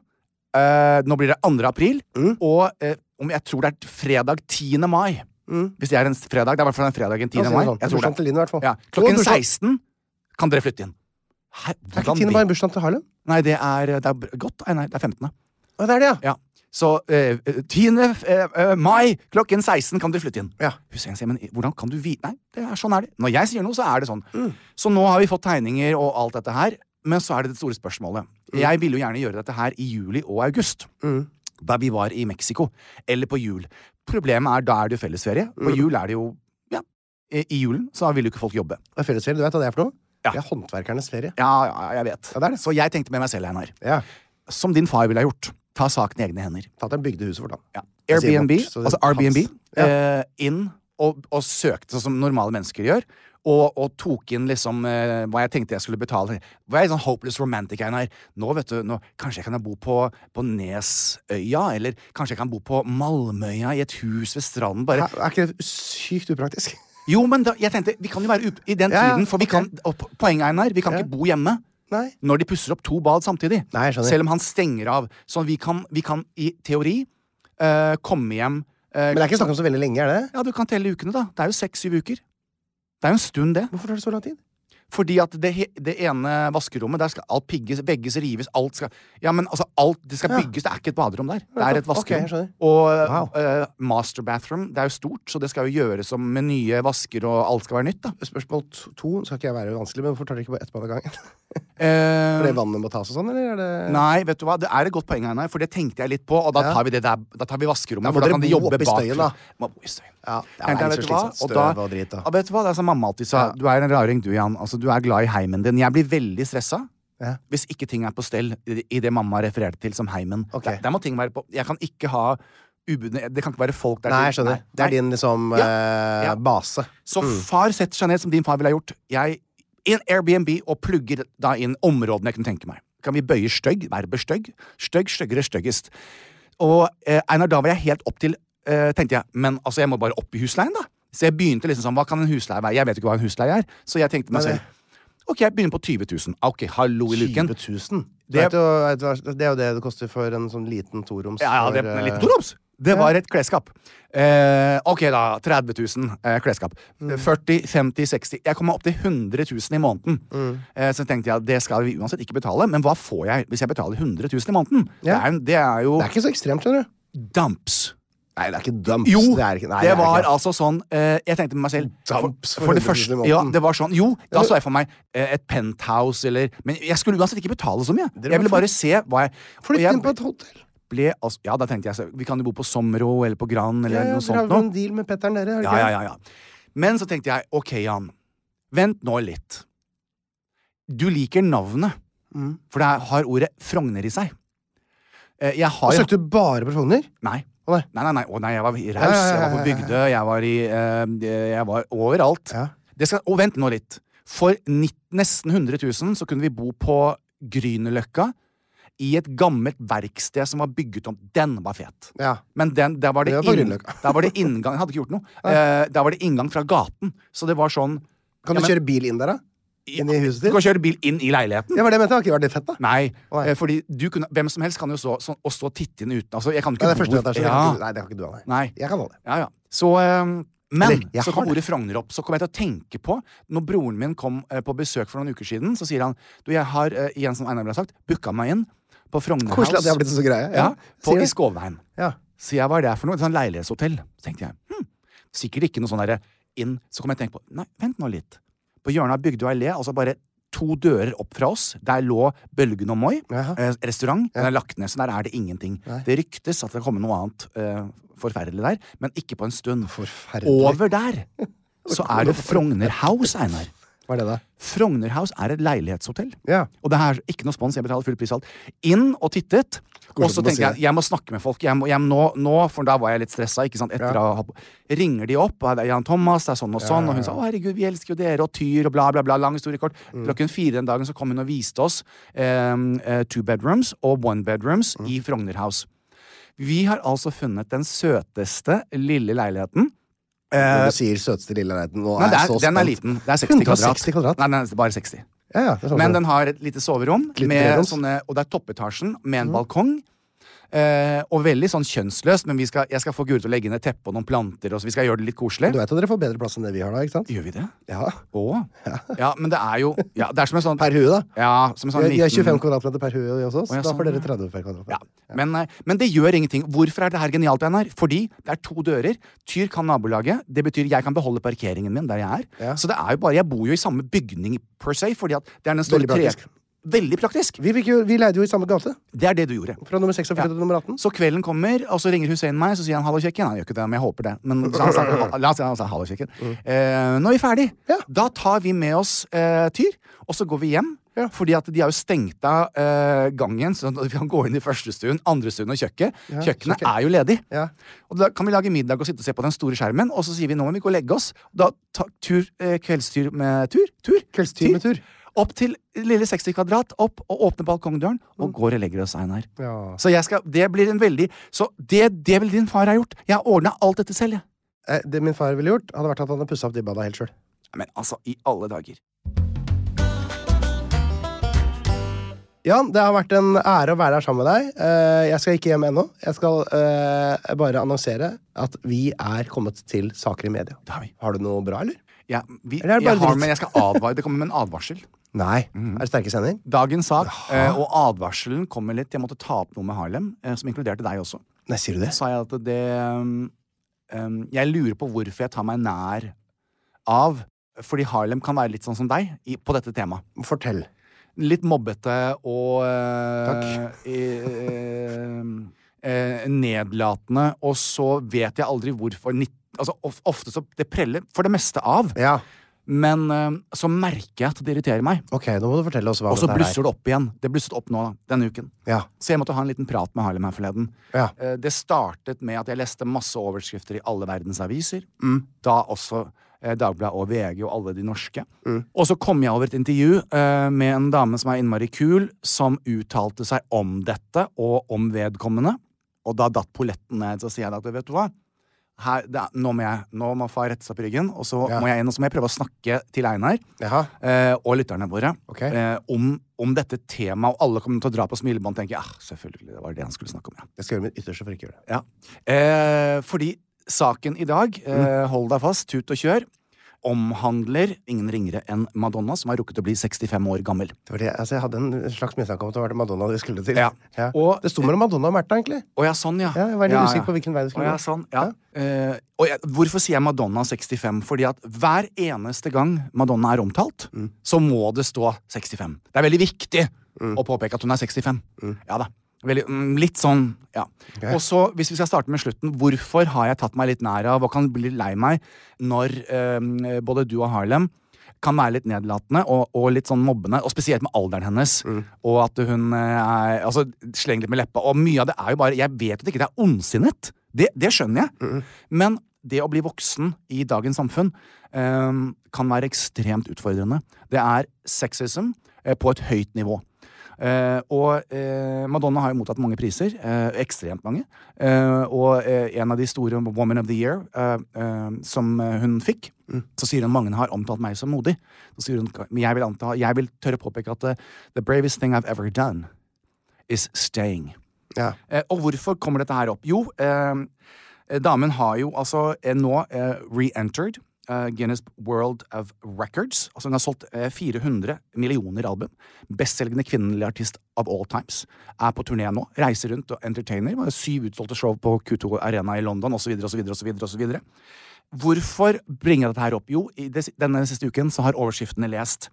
Speaker 1: eh, Nå blir det 2. april,
Speaker 2: Mm.
Speaker 1: og eh, om jeg tror det er fredag 10. mai.
Speaker 2: Mm.
Speaker 1: Hvis det er en s- fredag. Det er i hvert fall en fredag den 10.
Speaker 2: Ja, så er
Speaker 1: mai.
Speaker 2: det sånn.
Speaker 1: Jeg tror
Speaker 2: Bursdagen til Line, i hvert fall.
Speaker 1: Ja.
Speaker 2: Og
Speaker 1: Klokken
Speaker 2: bursdag-
Speaker 1: 16 kan dere flytte inn. Hæ?
Speaker 2: Det er ikke
Speaker 1: Hvordan
Speaker 2: Tine
Speaker 1: det-
Speaker 2: Barn bursdagen til Harlem?
Speaker 1: Nei, det er, det er b- godt. Nei, nei, det er 15.
Speaker 2: Å, det er det, ja.
Speaker 1: Ja. Så eh, 10. f- eh, eh, mai klokken 16 kan dere flytte inn.
Speaker 2: Ja.
Speaker 1: Hussein sier, men hvordan kan du vite Nei, det er, sånn er det. Når jeg sier noe, så er det sånn.
Speaker 2: Mm.
Speaker 1: Så nå har vi fått tegninger og alt dette her, men så er det det store spørsmålet.
Speaker 2: Mm.
Speaker 1: Jeg ville jo gjerne gjøre dette her i juli og august, da vi var i Mexico, eller på jul. Problemet er, da er det jo fellesferie. På
Speaker 2: Mm.
Speaker 1: jul er det jo Ja, i i julen så vil jo ikke folk jobbe.
Speaker 2: Det er fellesferie. Du vet hva det er for noe?
Speaker 1: Ja.
Speaker 2: Det er håndverkernes ferie.
Speaker 1: Ja, ja, jeg vet.
Speaker 2: Ja, det er det.
Speaker 1: Så jeg tenkte med meg selv, Einar,
Speaker 2: Ja.
Speaker 1: som din far ville ha gjort, ta saken i egne hender.
Speaker 2: Fatter'n bygde huset for ham.
Speaker 1: Ja.
Speaker 2: Jeg sier
Speaker 1: Airbnb,
Speaker 2: bort, så det-
Speaker 1: altså Airbnb,
Speaker 2: Ja.
Speaker 1: eh, inn og, og søkte sånn som normale mennesker gjør. Og, og tok inn liksom eh, hva jeg tenkte jeg skulle betale. Var jeg sånn hopeless romantic Einar? Nå, vet du, nå, kanskje jeg kan bo på, på Nesøya? Eller kanskje jeg kan bo på Malmøya i et hus ved stranden? Bare
Speaker 2: Er er ikke det sykt upraktisk?
Speaker 1: Jo, men da, jeg tenkte, vi kan jo være up i den
Speaker 2: Ja, ja,
Speaker 1: tiden, for vi
Speaker 2: ok.
Speaker 1: kan og po- Poenget, Einar, vi kan ikke bo hjemme
Speaker 2: Nei.
Speaker 1: når de pusser opp to bad samtidig.
Speaker 2: Nei, jeg skjønner.
Speaker 1: Selv om han stenger av. Så vi kan, vi kan i teori eh, komme hjem eh,
Speaker 2: Men det er ikke snakk om så veldig lenge, er det?
Speaker 1: Ja, du kan telle ukene, da. Det er jo seks-syv uker. Det er jo en stund, det.
Speaker 2: Hvorfor tar det så lang tid?
Speaker 1: Fordi at det, he- det ene vaskerommet, der skal alt pigges, vegges, rives, alt skal Ja, men altså, alt Det skal
Speaker 2: Ja.
Speaker 1: bygges, det er ikke et baderom der. Det
Speaker 2: Ja,
Speaker 1: er et
Speaker 2: ok, jeg
Speaker 1: vaskerom.
Speaker 2: skjønner.
Speaker 1: og
Speaker 2: Wow.
Speaker 1: eh, master bathroom, det er jo stort, så det skal jo gjøres som med nye vasker, og alt skal være nytt, da.
Speaker 2: Spørsmål to to skal ikke jeg være vanskelig, men hvorfor tar dere ikke bare ett bad av gangen?
Speaker 1: Eh,
Speaker 2: Fordi vannet må tas og sånn, eller er det
Speaker 1: Nei, vet du hva, det er et godt poeng, Einar, for det tenkte jeg litt på, og da
Speaker 2: Ja.
Speaker 1: tar vi det der, da tar vi vaskerommet,
Speaker 2: Ja,
Speaker 1: for
Speaker 2: dere
Speaker 1: da kan de
Speaker 2: må
Speaker 1: jobbe
Speaker 2: opp i
Speaker 1: bakfra.
Speaker 2: støyen, da.
Speaker 1: Må opp i støyen.
Speaker 2: Ja, det er
Speaker 1: Tenkte jeg,
Speaker 2: helt
Speaker 1: vet
Speaker 2: så
Speaker 1: du hva,
Speaker 2: slitsomt.
Speaker 1: og da-
Speaker 2: Støv og drit, da.
Speaker 1: Ja, vet du hva, det er som mamma alltid sa, du er en raring du, Jan, altså du er glad i heimen din. Jeg blir veldig stressa
Speaker 2: Ja.
Speaker 1: Hvis ikke ting er på stell i i det mamma refererte til som heimen.
Speaker 2: Ok.
Speaker 1: Der, der må ting være på Jeg kan ikke ha ubudne Det kan ikke være folk der.
Speaker 2: Nei,
Speaker 1: til-
Speaker 2: jeg skjønner.
Speaker 1: Nei,
Speaker 2: Det er
Speaker 1: nei.
Speaker 2: din liksom
Speaker 1: Ja.
Speaker 2: eh,
Speaker 1: Ja.
Speaker 2: base.
Speaker 1: Så
Speaker 2: Mm.
Speaker 1: far setter seg ned, som din far ville ha gjort, jeg, i en Airbnb og plugger da inn områdene jeg kunne tenke meg. Kan vi bøye stygg? Verbet stygg? Stygg, styggere, styggest. Og eh, Einar, da var jeg helt opp til eh, Tenkte jeg, men altså, jeg må bare opp i husleien, da. Så jeg begynte liksom sånn, hva kan en husleie være? Jeg vet ikke hva en husleie er. Så jeg tenkte meg
Speaker 2: Nei,
Speaker 1: selv. Ok, jeg begynner på 20 000. Ok, hallo i
Speaker 2: 20
Speaker 1: luken.
Speaker 2: 000. Du
Speaker 1: Det-
Speaker 2: vet jo, vet du hva- det er jo det det koster for en sånn liten toroms.
Speaker 1: Ja, ja,
Speaker 2: for,
Speaker 1: det,
Speaker 2: eh,
Speaker 1: litt toroms. Det var et klesskap. Eh, ok, da. 30 000 eh, klesskap.
Speaker 2: Mm.
Speaker 1: 40 50 60 Jeg kom meg opp til 100 000 i måneden.
Speaker 2: Mm.
Speaker 1: Eh, så tenkte jeg det skal vi uansett ikke betale, men hva får jeg hvis jeg betaler 100 000 i måneden?
Speaker 2: Ja.
Speaker 1: Det, er, en- det er jo
Speaker 2: Det er ikke så ekstremt, skjønner du.
Speaker 1: damps.
Speaker 2: Nei, det er ikke dumps.
Speaker 1: Jo!
Speaker 2: det, er ikke, nei,
Speaker 1: det
Speaker 2: er
Speaker 1: var
Speaker 2: ikke.
Speaker 1: altså sånn eh, Jeg tenkte med meg selv
Speaker 2: Damps
Speaker 1: for,
Speaker 2: for
Speaker 1: for det
Speaker 2: 100 000
Speaker 1: første
Speaker 2: i måneden.
Speaker 1: Ja, det var sånn. Jo, da så jeg for meg eh, et penthouse eller Men jeg skulle uansett ikke betale så mye.
Speaker 2: Dere
Speaker 1: Jeg ville
Speaker 2: må
Speaker 1: bare se hva jeg og
Speaker 2: Flytt
Speaker 1: jeg-
Speaker 2: inn på et hotell.
Speaker 1: ble altså, Ja, da tenkte jeg så, Vi kan jo bo på Somro eller på Gran eller
Speaker 2: Ja, ja,
Speaker 1: noe
Speaker 2: Dere har
Speaker 1: sånt
Speaker 2: vel en
Speaker 1: noe.
Speaker 2: deal med Petteren, dere? har dere
Speaker 1: Ja, ja,
Speaker 2: ikke?
Speaker 1: ja, ja. Men så tenkte jeg, ok, Jan. Vent nå litt. Du liker navnet,
Speaker 2: Mm.
Speaker 1: for det er- har ordet Frogner i seg. Eh, Jeg har
Speaker 2: Og
Speaker 1: jo
Speaker 2: søkte du bare på Frogner?
Speaker 1: Nei.
Speaker 2: Å, nei.
Speaker 1: Nei, nei, nei. Å, nei, jeg var raus.
Speaker 2: Ja, ja, ja,
Speaker 1: Jeg var på
Speaker 2: ja, ja, ja.
Speaker 1: Bygdøy, jeg var i eh, Jeg var overalt.
Speaker 2: Ja.
Speaker 1: Det skal, og vent nå litt. For nitt- nesten 100 000 så kunne vi bo på Grünerløkka, i et gammelt verksted som var bygget om. Den var fet.
Speaker 2: Ja.
Speaker 1: Men den, der, var det
Speaker 2: Det var på
Speaker 1: inn,
Speaker 2: Grünerløkka.
Speaker 1: der var det inngang Jeg hadde ikke gjort noe. Eh, der var det inngang fra gaten. Så det var sånn
Speaker 2: Kan
Speaker 1: Ja,
Speaker 2: du
Speaker 1: men-
Speaker 2: kjøre bil inn der, da? Inn i huset
Speaker 1: Du
Speaker 2: ditt?
Speaker 1: kan kjøre bil inn i leiligheten.
Speaker 2: Ja, var det jeg mente. Det har ikke vært litt fett, da.
Speaker 1: Nei,
Speaker 2: Nei.
Speaker 1: eh, fordi du kunne, hvem som helst kan jo stå, sånn, og stå og titte inn uten altså, Jeg kan
Speaker 2: Nei,
Speaker 1: ikke
Speaker 2: det er første
Speaker 1: bo-
Speaker 2: etasje. det
Speaker 1: ja.
Speaker 2: kan ikke du- Nei, det kan ikke du ha, nei.
Speaker 1: Nei.
Speaker 2: Jeg kan ha det.
Speaker 1: Ja, ja. Så, eh, men
Speaker 2: Eller, jeg
Speaker 1: så
Speaker 2: har
Speaker 1: kom ordet Frogner opp. Så kom jeg til å tenke på Når broren min kom eh, på besøk for noen uker siden, så sier han Du, jeg har, eh, igjen som Einar ville ha sagt, booka meg inn på Frogner House.
Speaker 2: Koselig at det har blitt så greie.
Speaker 1: altså- ja, på,
Speaker 2: sier
Speaker 1: I
Speaker 2: det.
Speaker 1: Skåveien.
Speaker 2: Ja.
Speaker 1: Så jeg var der for noe, et sånt leilighetshotell. Så tenkte jeg, hm, sikkert ikke noe sånn derre inn. Så kom jeg og tenkte på, nei, vent nå litt. På hjørnet av Bygdøy allé, altså bare to dører opp fra oss, der lå Bølgen og Moi,
Speaker 2: Jaha.
Speaker 1: eh, restaurant. Den er lagt ned, så der er det ingenting. Det ryktes at det kommer noe annet eh, forferdelig der, men ikke på en stund.
Speaker 2: Forferdelig.
Speaker 1: Over der så er det Frogner House, Einar.
Speaker 2: Hva er det, da?
Speaker 1: Frogner House er et leilighetshotell.
Speaker 2: Ja.
Speaker 1: Og det her, ikke noe spons, jeg betaler full pris og alt. Inn og tittet. Og så
Speaker 2: å si
Speaker 1: tenker
Speaker 2: det.
Speaker 1: jeg jeg må snakke med folk. Jeg må, jeg, nå, nå, for da var jeg litt stressa. Ikke sant? Etter å ha, ringer de opp. Og det er Jan Thomas, det er sånn og sånn. Og hun sa 'Å, herregud, vi elsker jo dere', og Tyr, og bla, bla, bla. Lang historie kort.
Speaker 2: Mm.
Speaker 1: Klokken fire den dagen så kom hun og viste oss eh, eh, two bedrooms og one bedrooms
Speaker 2: Mm.
Speaker 1: i Frogner House. Vi har altså funnet den søteste lille leiligheten.
Speaker 2: Når du sier søteste lille leiligheten, nå
Speaker 1: Eh, Nei,
Speaker 2: er
Speaker 1: det
Speaker 2: jeg
Speaker 1: er,
Speaker 2: så
Speaker 1: den
Speaker 2: spent.
Speaker 1: er liten. Det er 60 kvadrat.
Speaker 2: 160 kvadrat?
Speaker 1: Nei, nei, bare 60.
Speaker 2: Ja, ja, det er sånn
Speaker 1: Men
Speaker 2: som-
Speaker 1: den har et lite soverom,
Speaker 2: Litt
Speaker 1: med
Speaker 2: treroms.
Speaker 1: sånne, og det er toppetasjen med
Speaker 2: Mm.
Speaker 1: en balkong. Eh, og veldig sånn kjønnsløst, men vi skal, jeg skal få Guri til å legge inn et teppe og noen planter. Og så vi skal gjøre det litt koselig.
Speaker 2: Du vet at dere får bedre plass enn det vi har da, ikke sant?
Speaker 1: Gjør vi det?
Speaker 2: Ja.
Speaker 1: Å? Ja, men det er jo ja, Det er som en sånn
Speaker 2: Per hue, da.
Speaker 1: Ja, som en sånn
Speaker 2: Vi har- vi
Speaker 1: liten-
Speaker 2: har 25 kvadratmeter per hue hos oss.
Speaker 1: Å, ja,
Speaker 2: da
Speaker 1: sånn,
Speaker 2: får dere
Speaker 1: ja.
Speaker 2: 30 per kvadratmeter.
Speaker 1: Ja. Men, eh, men det gjør ingenting. Hvorfor er det her genialt, Einar? Fordi det er to dører. Tyr kan nabolaget. Det betyr jeg kan beholde parkeringen min der jeg er.
Speaker 2: Ja.
Speaker 1: Så det er jo bare Jeg bor jo i samme bygning per se, fordi at det er den store
Speaker 2: Veldig praktisk.
Speaker 1: tre... Veldig praktisk.
Speaker 2: Vi, fikk jo, vi leide jo i samme gate.
Speaker 1: Det er det du gjorde.
Speaker 2: Fra nummer 46
Speaker 1: Ja.
Speaker 2: til nummer 18.
Speaker 1: Så kvelden kommer, og så ringer Hussein meg, så sier han 'hallo, kjekken'. Han gjør ikke det, men jeg håper det. Men så han sa, la oss si han sa 'hallo, kjekken'. Eh, nå er vi ferdig.
Speaker 2: Mm. Ja.
Speaker 1: Da tar vi med oss eh, Tyr, og så går vi hjem.
Speaker 2: Ja.
Speaker 1: Fordi at de har jo stengt av eh, gangen, så vi kan gå inn i første stuen, andre stuen og kjøkket. Kjøkkenet
Speaker 2: kjøkken.
Speaker 1: er jo ledig.
Speaker 2: Ja.
Speaker 1: Og da kan vi lage middag og sitte og se på den store skjermen, og så sier vi 'nå må vi gå og legge oss'. Da tar tur, eh, kveldstur med tur. Tur.
Speaker 2: Kveldstur med tur.
Speaker 1: Opp til lille 60 kvadrat, opp og åpne balkongdøren, og går og legger oss, Einar.
Speaker 2: Mm. Ja.
Speaker 1: Så jeg skal, det blir en veldig Så det, det ville din far ha gjort. Jeg har ordna alt dette selv, jeg.
Speaker 2: Eh, Det min far ville gjort, hadde vært at han hadde pussa opp de bada helt sjøl.
Speaker 1: Men altså, i alle dager.
Speaker 2: Jan, det har vært en ære å være her sammen med deg. Eh, Jeg skal ikke hjem ennå. Jeg skal eh, bare annonsere at vi er kommet til saker i media.
Speaker 1: Det har vi.
Speaker 2: Har du noe bra, eller?
Speaker 1: Ja, vi,
Speaker 2: Eller er det
Speaker 1: jeg
Speaker 2: bare
Speaker 1: har,
Speaker 2: dritt?
Speaker 1: men jeg skal advare. Det kommer med en advarsel.
Speaker 2: Nei.
Speaker 1: Mm.
Speaker 2: Er det sterke sender?
Speaker 1: Dagens sak eh, og advarselen kommer litt. Jeg måtte ta opp noe med Harlem, eh, som inkluderte deg også.
Speaker 2: Nei, sier du det?
Speaker 1: Sa jeg at det um, um, Jeg lurer på hvorfor jeg tar meg nær av Fordi Harlem kan være litt sånn som deg i, på dette temaet.
Speaker 2: Fortell.
Speaker 1: Litt mobbete og eh, eh, eh, nedlatende, og så vet jeg aldri hvorfor nitt- altså, of, Ofte så det preller for det meste av.
Speaker 2: Ja.
Speaker 1: Men eh, så merker jeg at det irriterer meg.
Speaker 2: Ok, nå må du fortelle oss hva
Speaker 1: Og så
Speaker 2: dette her
Speaker 1: blusser det opp igjen. Det blusset opp nå, da, denne uken.
Speaker 2: Ja.
Speaker 1: Så jeg måtte ha en liten prat med Harlem her forleden.
Speaker 2: Ja.
Speaker 1: Eh, Det startet med at jeg leste masse overskrifter i alle verdens aviser. Mm. Da også eh, Dagbladet og VG og alle de norske.
Speaker 2: Mm.
Speaker 1: Og så kom jeg over et intervju eh, med en dame som er innmari kul, som uttalte seg om dette og om vedkommende. Og da datt polletten ned, så sier jeg da at vet du hva? Her, det er, nå, må jeg, nå må far rette seg på ryggen, og så
Speaker 2: Ja.
Speaker 1: må jeg inn og så må jeg prøve å snakke til Einar
Speaker 2: Jaha.
Speaker 1: eh, og lytterne våre
Speaker 2: Ok.
Speaker 1: eh, om, om dette temaet, og alle kommer til å dra på smilebånd og tenke ja, selvfølgelig, det var det han skulle snakke om, ja.
Speaker 2: Jeg skal gjøre mitt ytterste for ikke å gjøre det.
Speaker 1: ja. Eh, fordi saken i dag, eh, hold deg fast, tut og kjør, omhandler ingen ringere enn Madonna, som har rukket å bli 65 år gammel.
Speaker 2: det, var det altså, jeg hadde en slags mistanke om at det var det Madonna du skulle til.
Speaker 1: Ja. Og-
Speaker 2: det sto mellom Madonna og Märtha, egentlig.
Speaker 1: Å ja, sånn, ja.
Speaker 2: Ja, jeg var litt usikker på hvilken vei det skulle
Speaker 1: Å ja,
Speaker 2: gå.
Speaker 1: sånn, ja. Eh, og jeg, hvorfor sier jeg Madonna 65? Fordi at hver eneste gang Madonna er omtalt,
Speaker 2: Mm.
Speaker 1: så må det stå 65. Det er veldig viktig
Speaker 2: Mm.
Speaker 1: å påpeke at hun er 65. Ja da. Veldig, mm, litt sånn, ja. Og så, hvis vi skal starte med slutten, hvorfor har jeg tatt meg litt nær av og kan bli lei meg når eh, både du og Harlem kan være litt nedlatende og, og litt sånn mobbende, og spesielt med alderen hennes. Og at hun eh, er altså, slenger litt med leppa. Og mye av det er jo bare Jeg vet at ikke det er ondsinnet. Det, det skjønner jeg. Men det å bli voksen i dagens samfunn eh, kan være ekstremt utfordrende. Det er sexism eh, på et høyt nivå. Eh, og eh, Madonna har jo mottatt mange priser. eh, ekstremt mange. Eh, og eh, en av de store, Woman of the Year, eh, eh, som eh, hun fikk, så sier hun mange har omtalt meg som modig. Så sier hun, men jeg vil, anta, jeg vil tørre påpeke at eh, the bravest thing I've ever done is staying.
Speaker 2: Ja.
Speaker 1: Eh, og hvorfor kommer dette her opp? Jo, eh, eh, damen har jo altså eh, nå eh, re-entered eh, Guinness World of Records. Altså hun har solgt eh, 400 millioner album. Bestselgende kvinnelig artist of all times. Er på turné nå. Reiser rundt og entertainer. Var syv utsolgte show på Q2 Arena i London, osv., osv., osv., osv. Hvorfor bringer jeg dette her opp? Jo, i det, denne siste uken så har overskriftene lest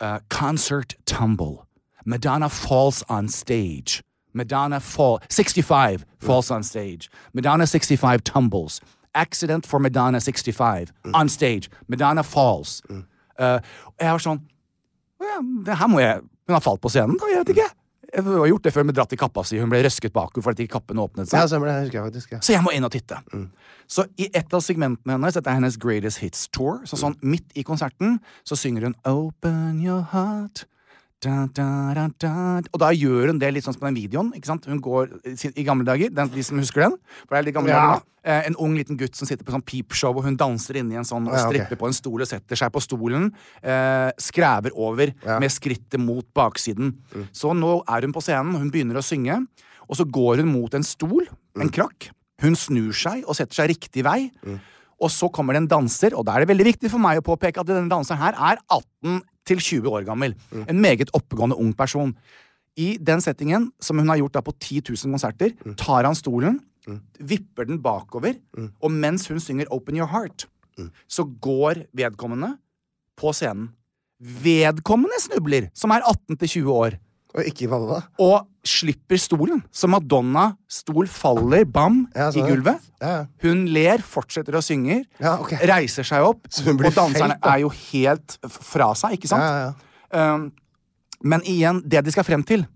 Speaker 1: eh, Concert Tumble. Madonna falls on stage. Madonna fall 65 falls on stage. Madonna 65 tumbles. Accident for Madonna 65 on stage. Madonna falls. Eh, og jeg var sånn «Å ja, det her må jeg Hun har falt på scenen, da? Jeg vet ikke. Jeg har gjort det før med dratt i kappa si. Hun ble røsket bakover fordi ikke kappen åpnet seg.
Speaker 2: ja, stemmer det. Husker jeg faktisk. Ja.
Speaker 1: Så jeg må inn og titte. Så i et av segmentene hennes, dette er hennes Greatest Hits Tour, så sånn midt i konserten, så synger hun Open your heart. Da, da, da, da. Og da gjør hun det litt sånn som på den videoen. ikke sant? Hun går i sin- I gamle dager, den, de som husker den for det er de gamle
Speaker 2: Ja.
Speaker 1: dager nå, eh, En ung liten gutt som sitter på sånn peepshow, og hun danser inni en sånn og
Speaker 2: Ja, ok.
Speaker 1: stripper på en stol og setter seg på stolen. Eh, skræver over med skrittet mot baksiden.
Speaker 2: Mm.
Speaker 1: Så nå er hun på scenen, hun begynner å synge, og så går hun mot en stol,
Speaker 2: Mm.
Speaker 1: en krakk. Hun snur seg og setter seg riktig vei. Og så kommer det en danser, og da er det veldig viktig for meg å påpeke at denne danseren her er 18 til 20 år gammel.
Speaker 2: Mm.
Speaker 1: En meget oppegående ung person. I den settingen, som hun har gjort da på 10 000 konserter,
Speaker 2: Mm.
Speaker 1: tar han stolen, vipper den bakover, og mens hun synger Open Your Heart,
Speaker 2: Mm.
Speaker 1: så går vedkommende på scenen. Vedkommende snubler, som er 18 til 20 år
Speaker 2: Og ikke Madonna.
Speaker 1: og slipper stolen. Så Madonna stol faller, bam,
Speaker 2: Ja, sånn,
Speaker 1: i
Speaker 2: ja.
Speaker 1: gulvet.
Speaker 2: Ja, ja.
Speaker 1: Hun ler, fortsetter å synge,
Speaker 2: Ja, ok.
Speaker 1: reiser seg opp,
Speaker 2: hun blir
Speaker 1: og danserne
Speaker 2: felt, da.
Speaker 1: er jo helt f- fra seg, ikke sant?
Speaker 2: Ja, ja, Mm. ja.
Speaker 1: Um, men igjen, det de skal frem til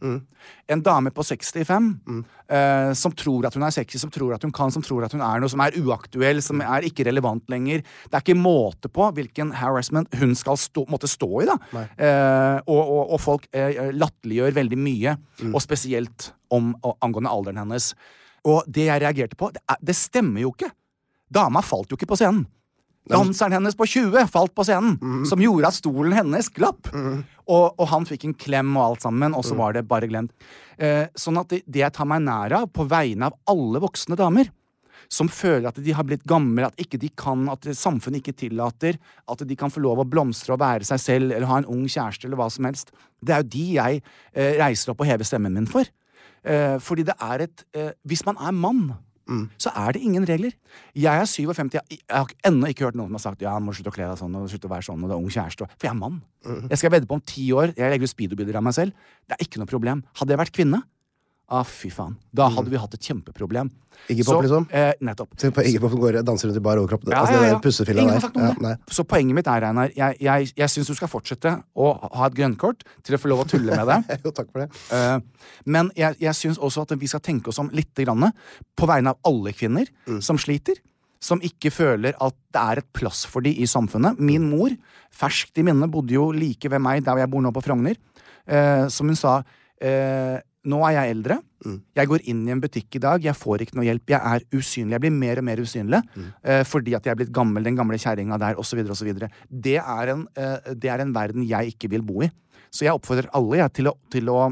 Speaker 1: En dame på 65
Speaker 2: Mm.
Speaker 1: eh, som tror at hun er sexy, som tror at hun kan, som tror at hun er noe, som er uaktuell, som
Speaker 2: Mm.
Speaker 1: er ikke relevant lenger. Det er ikke måte på hvilken harassment hun skal stå, måtte stå i, da. Eh, og, og, og folk eh, latterliggjør veldig mye,
Speaker 2: Mm.
Speaker 1: og spesielt om, og, angående alderen hennes. Og det jeg reagerte på, det, er, det stemmer jo ikke! Dama falt jo ikke på scenen. Danseren hennes på 20 falt på scenen, som gjorde at stolen hennes glapp. Og, og han fikk en klem og alt sammen, og så var det bare glemt. Eh, sånn at det, det jeg tar meg nær av, på vegne av alle voksne damer, som føler at de har blitt gamle, at ikke de kan, at samfunnet ikke tillater at de kan få lov å blomstre og være seg selv eller ha en ung kjæreste eller hva som helst. Det er jo de jeg eh, reiser opp og hever stemmen min for. Eh, fordi det er et eh, Hvis man er mann,
Speaker 2: Mm.
Speaker 1: så er det ingen regler. Jeg er 57, jeg, jeg har ennå ikke hørt noen som har sagt Ja, han må slutte å kle deg sånn og slutte å være sånn, og det er ung kjæreste og For jeg er mann.
Speaker 2: Mm.
Speaker 1: Jeg skal vedde på om ti år, jeg legger ut speedobilder av meg selv. Det er ikke noe problem. Hadde jeg vært kvinne Ah, fy faen. Da hadde vi hatt et kjempeproblem.
Speaker 2: Iggy Mm. Pop,
Speaker 1: Så,
Speaker 2: liksom?
Speaker 1: Eh, nettopp.
Speaker 2: Se på Iggy Pop som går og danser rundt i bar overkropp.
Speaker 1: Ja,
Speaker 2: altså,
Speaker 1: ja, ja.
Speaker 2: den pussefilla
Speaker 1: Ingen har
Speaker 2: der.
Speaker 1: sagt noe om
Speaker 2: Ja, nei.
Speaker 1: det. Så poenget mitt er, Einar, jeg, jeg, jeg syns du skal fortsette å ha et grønnkort til å få lov å tulle med det.
Speaker 2: Jo, takk for det.
Speaker 1: Eh, Men jeg, jeg syns også at vi skal tenke oss om litt grann, på vegne av alle kvinner som sliter. Som ikke føler at det er et plass for de i samfunnet. Min mor, ferskt i minne, bodde jo like ved meg der jeg bor nå på Frogner. Eh, som hun sa eh, Nå er jeg eldre. Jeg går inn i en butikk i dag, jeg får ikke noe hjelp. Jeg er usynlig. Jeg blir mer og mer usynlig eh, fordi at jeg er blitt gammel, den gamle kjerringa der, osv., osv. Det, er en, eh, det er en verden jeg ikke vil bo i. Så jeg oppfordrer alle jeg, til, å, til å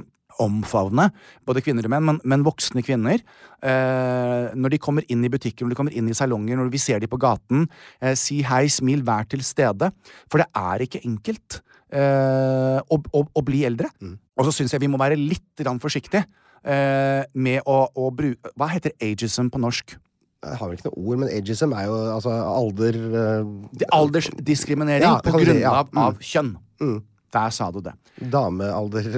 Speaker 1: omfavne både kvinner og menn, men, men voksne kvinner. Eh, når de kommer inn i butikker, når de kommer inn i salonger, når vi ser de på gaten, eh, si hei, smil, vær til stede. For det er ikke enkelt eh, å, å, å bli eldre.
Speaker 2: Mm.
Speaker 1: Og så syns jeg vi må være litt grann forsiktige eh, med å, å bruke Hva heter ageism på norsk?
Speaker 2: Jeg har vel ikke noe ord, men ageism er jo altså alder eh,
Speaker 1: Det- Aldersdiskriminering
Speaker 2: Ja,
Speaker 1: på
Speaker 2: kan du si,
Speaker 1: grunnlag
Speaker 2: ja. Mm.
Speaker 1: av kjønn. Der sa du det.
Speaker 2: Damealder